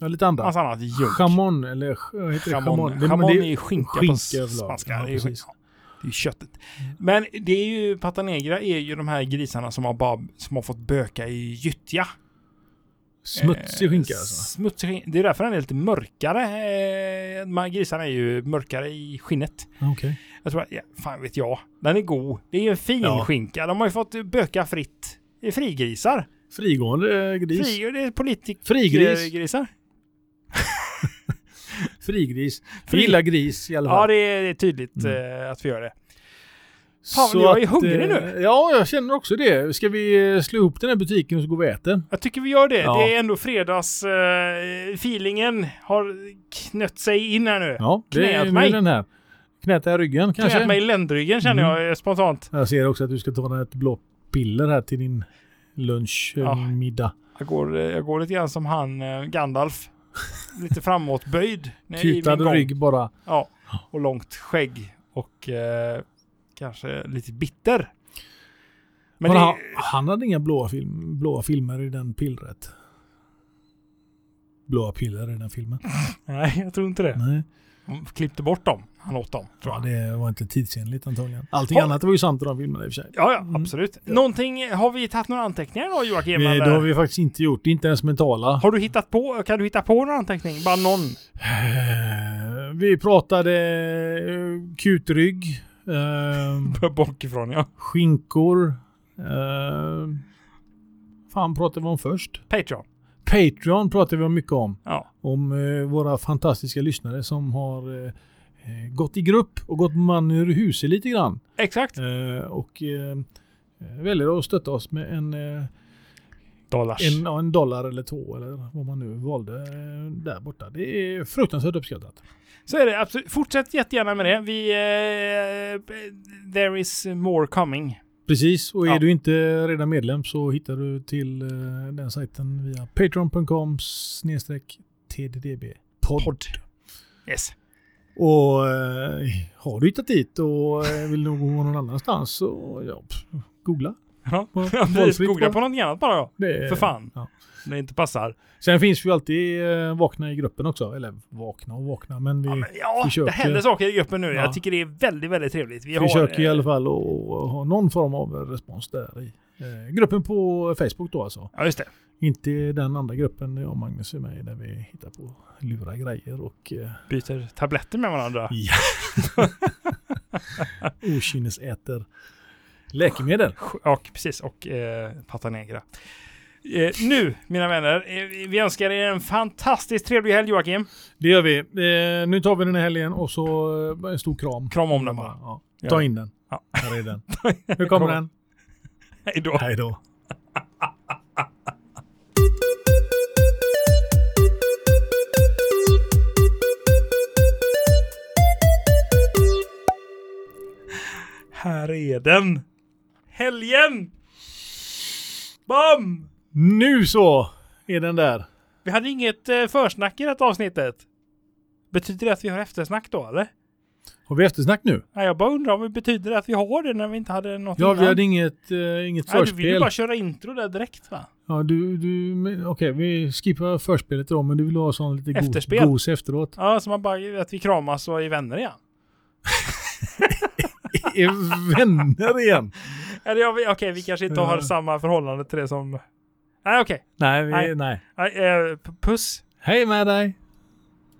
[SPEAKER 1] ja, lite andra.
[SPEAKER 2] Massa annat junk.
[SPEAKER 1] Chamon eller ch- vad heter det?
[SPEAKER 2] Jamon.
[SPEAKER 1] Det- men
[SPEAKER 2] Jamon är
[SPEAKER 1] det-
[SPEAKER 2] ju skinka, på
[SPEAKER 1] överlag.
[SPEAKER 2] spanska.
[SPEAKER 1] Ja,
[SPEAKER 2] det, är ju,
[SPEAKER 1] precis.
[SPEAKER 2] skinka. det är ju köttet. Men det är ju, Pata Negra är ju de här grisarna som har, bara, som har fått böka i gyttja.
[SPEAKER 1] Smutsig skinka
[SPEAKER 2] Eh,
[SPEAKER 1] alltså.
[SPEAKER 2] Smutsig skinka. Det är därför den är lite mörkare. Eh, De här grisarna är ju mörkare i skinnet.
[SPEAKER 1] Okej.
[SPEAKER 2] Jag tror, att- ja, fan vet jag. Den är god. Det är ju en fin
[SPEAKER 1] Ja.
[SPEAKER 2] skinka. De har ju fått böka fritt. Det är frigrisar.
[SPEAKER 1] Frigående eh, gris.
[SPEAKER 2] Fri, det är politiker.
[SPEAKER 1] Frigris.
[SPEAKER 2] Grisar.
[SPEAKER 1] Frigris.
[SPEAKER 2] Fri-
[SPEAKER 1] Fri. Gillar gris i alla fall.
[SPEAKER 2] Ja, det är det är tydligt eh, att vi gör det. fan, men jag är
[SPEAKER 1] att,
[SPEAKER 2] hungrig
[SPEAKER 1] eh,
[SPEAKER 2] nu.
[SPEAKER 1] Ja, jag känner också det. Ska vi eh, slå ihop den här butiken och så går vi och äter?
[SPEAKER 2] Jag tycker vi gör det.
[SPEAKER 1] Ja.
[SPEAKER 2] Det är ändå fredags... eh, feelingen har knött sig in här nu.
[SPEAKER 1] Ja, det
[SPEAKER 2] Knät
[SPEAKER 1] är
[SPEAKER 2] mig.
[SPEAKER 1] mig. den här. Knät här ryggen kanske?
[SPEAKER 2] Knöt mig i ländryggen känner
[SPEAKER 1] Mm.
[SPEAKER 2] jag eh, spontant.
[SPEAKER 1] Jag ser också att du ska ta ett blått piller här till din lunch, eh,
[SPEAKER 2] Ja.
[SPEAKER 1] middag.
[SPEAKER 2] Jag går, eh, jag går lite grann som han eh, Gandalf. Lite framåtböjd. när- i min
[SPEAKER 1] Kutad
[SPEAKER 2] gång.
[SPEAKER 1] rygg bara.
[SPEAKER 2] Ja. Och långt skägg. Och eh, kanske lite bitter.
[SPEAKER 1] Men
[SPEAKER 2] Men det,
[SPEAKER 1] han, han hade inga blåa, film, blåa filmer i den pillret. Blåa piller i den filmen.
[SPEAKER 2] nej, jag tror inte det.
[SPEAKER 1] Nej,
[SPEAKER 2] De klippte bort dem. Han åt dem. Tror
[SPEAKER 1] ja,
[SPEAKER 2] jag.
[SPEAKER 1] det var inte tidsenligt antagligen. Allting
[SPEAKER 2] Ja.
[SPEAKER 1] annat var ju sant i de filmerna i och för sig.
[SPEAKER 2] Ja, ja, absolut. Någonting, har vi tagit några anteckningar då Joakim?
[SPEAKER 1] Eh,
[SPEAKER 2] eller?
[SPEAKER 1] Det har Mm. vi faktiskt inte gjort, inte ens mentala.
[SPEAKER 2] Har du hittat på, kan du hitta på någon anteckning? Bara någon?
[SPEAKER 1] Eh, Vi pratade eh, kutrygg, eh,
[SPEAKER 2] Bakifrån ja.
[SPEAKER 1] skinkor. Eh, fan pratade vi om först?
[SPEAKER 2] Patreon.
[SPEAKER 1] Patreon pratade vi om mycket om.
[SPEAKER 2] Ja.
[SPEAKER 1] Om eh, våra fantastiska lyssnare som har eh, eh, gått i grupp och gått man ur huset lite grann.
[SPEAKER 2] Exakt.
[SPEAKER 1] Eh, och eh, väljer att stötta oss med en, eh,
[SPEAKER 2] Dollars.
[SPEAKER 1] en, ja, en dollar eller två eller vad man nu valde eh, där borta. Det är fruktansvärt uppskattat.
[SPEAKER 2] Så är det absolut. Fortsätt jättegärna med det. Vi... Eh, there is more coming.
[SPEAKER 1] Precis, och är
[SPEAKER 2] Ja.
[SPEAKER 1] du inte redan medlem så hittar du till eh, den sajten via patreon.com snedstreck tddb. Podd.
[SPEAKER 2] Yes.
[SPEAKER 1] Och eh, har du hittat dit och eh, vill nog gå någon annanstans så ja, pff, googla.
[SPEAKER 2] Ja.
[SPEAKER 1] Vad-
[SPEAKER 2] Precis.
[SPEAKER 1] valfritt
[SPEAKER 2] Googla
[SPEAKER 1] val.
[SPEAKER 2] på något annat bara då.
[SPEAKER 1] Det är-
[SPEAKER 2] För fan.
[SPEAKER 1] ja.
[SPEAKER 2] När det inte passar.
[SPEAKER 1] Sen finns vi ju alltid eh, vakna i gruppen också. Eller vakna och vakna, men vi
[SPEAKER 2] Ja, men, ja det
[SPEAKER 1] försöker-
[SPEAKER 2] händer saker i gruppen nu. Jag
[SPEAKER 1] Ja.
[SPEAKER 2] tycker det är väldigt, väldigt trevligt. Vi
[SPEAKER 1] försöker i
[SPEAKER 2] har,
[SPEAKER 1] alla fall att ha någon form av respons där i eh, gruppen eh, på Facebook då alltså.
[SPEAKER 2] Ja, just det.
[SPEAKER 1] Inte den andra gruppen jag och Magnus är med i där vi hittar på lura grejer och eh,
[SPEAKER 2] Byter tabletter med varandra.
[SPEAKER 1] ja. okynnesäter läkemedel.
[SPEAKER 2] Och precis, och eh, Pata Negra. Eh, nu, mina vänner, eh, vi önskar er en fantastiskt trevlig helg, Joakim.
[SPEAKER 1] Det gör vi. Eh, nu tar vi den här helgen och så eh, en stor kram.
[SPEAKER 2] Kram om den bara.
[SPEAKER 1] Ja.
[SPEAKER 2] Ja.
[SPEAKER 1] Ta in den.
[SPEAKER 2] Ja.
[SPEAKER 1] Här är den. Hur kommer den?
[SPEAKER 2] Hej då.
[SPEAKER 1] Hej då.
[SPEAKER 2] Här är den. Helgen! Bam!
[SPEAKER 1] Nu så är den där.
[SPEAKER 2] Vi hade inget eh, försnack i det här avsnittet. Betyder det att vi har eftersnack då, eller?
[SPEAKER 1] Har vi eftersnack nu?
[SPEAKER 2] Nej, jag bara undrar om det betyder att vi har det när vi inte hade något
[SPEAKER 1] Ja, vi
[SPEAKER 2] innan.
[SPEAKER 1] hade inget, eh, inget
[SPEAKER 2] Nej, du vill ju
[SPEAKER 1] förspel.
[SPEAKER 2] bara köra intro där direkt, va?
[SPEAKER 1] Ja, du, du, men- Okej, vi skippar förspelet då, men du vill ha sån lite go-
[SPEAKER 2] Efterspel.
[SPEAKER 1] gos efteråt.
[SPEAKER 2] Ja, så man bara, att vi kramas och är vänner igen.
[SPEAKER 1] Är vänner igen?
[SPEAKER 2] Eller ja, vi- okej, vi kanske inte har
[SPEAKER 1] Ja.
[SPEAKER 2] samma förhållande till det som... Nej, okej.
[SPEAKER 1] Nej, vi,
[SPEAKER 2] Nej.
[SPEAKER 1] nej.
[SPEAKER 2] Nej, eh, p- Puss.
[SPEAKER 1] Hej med dig!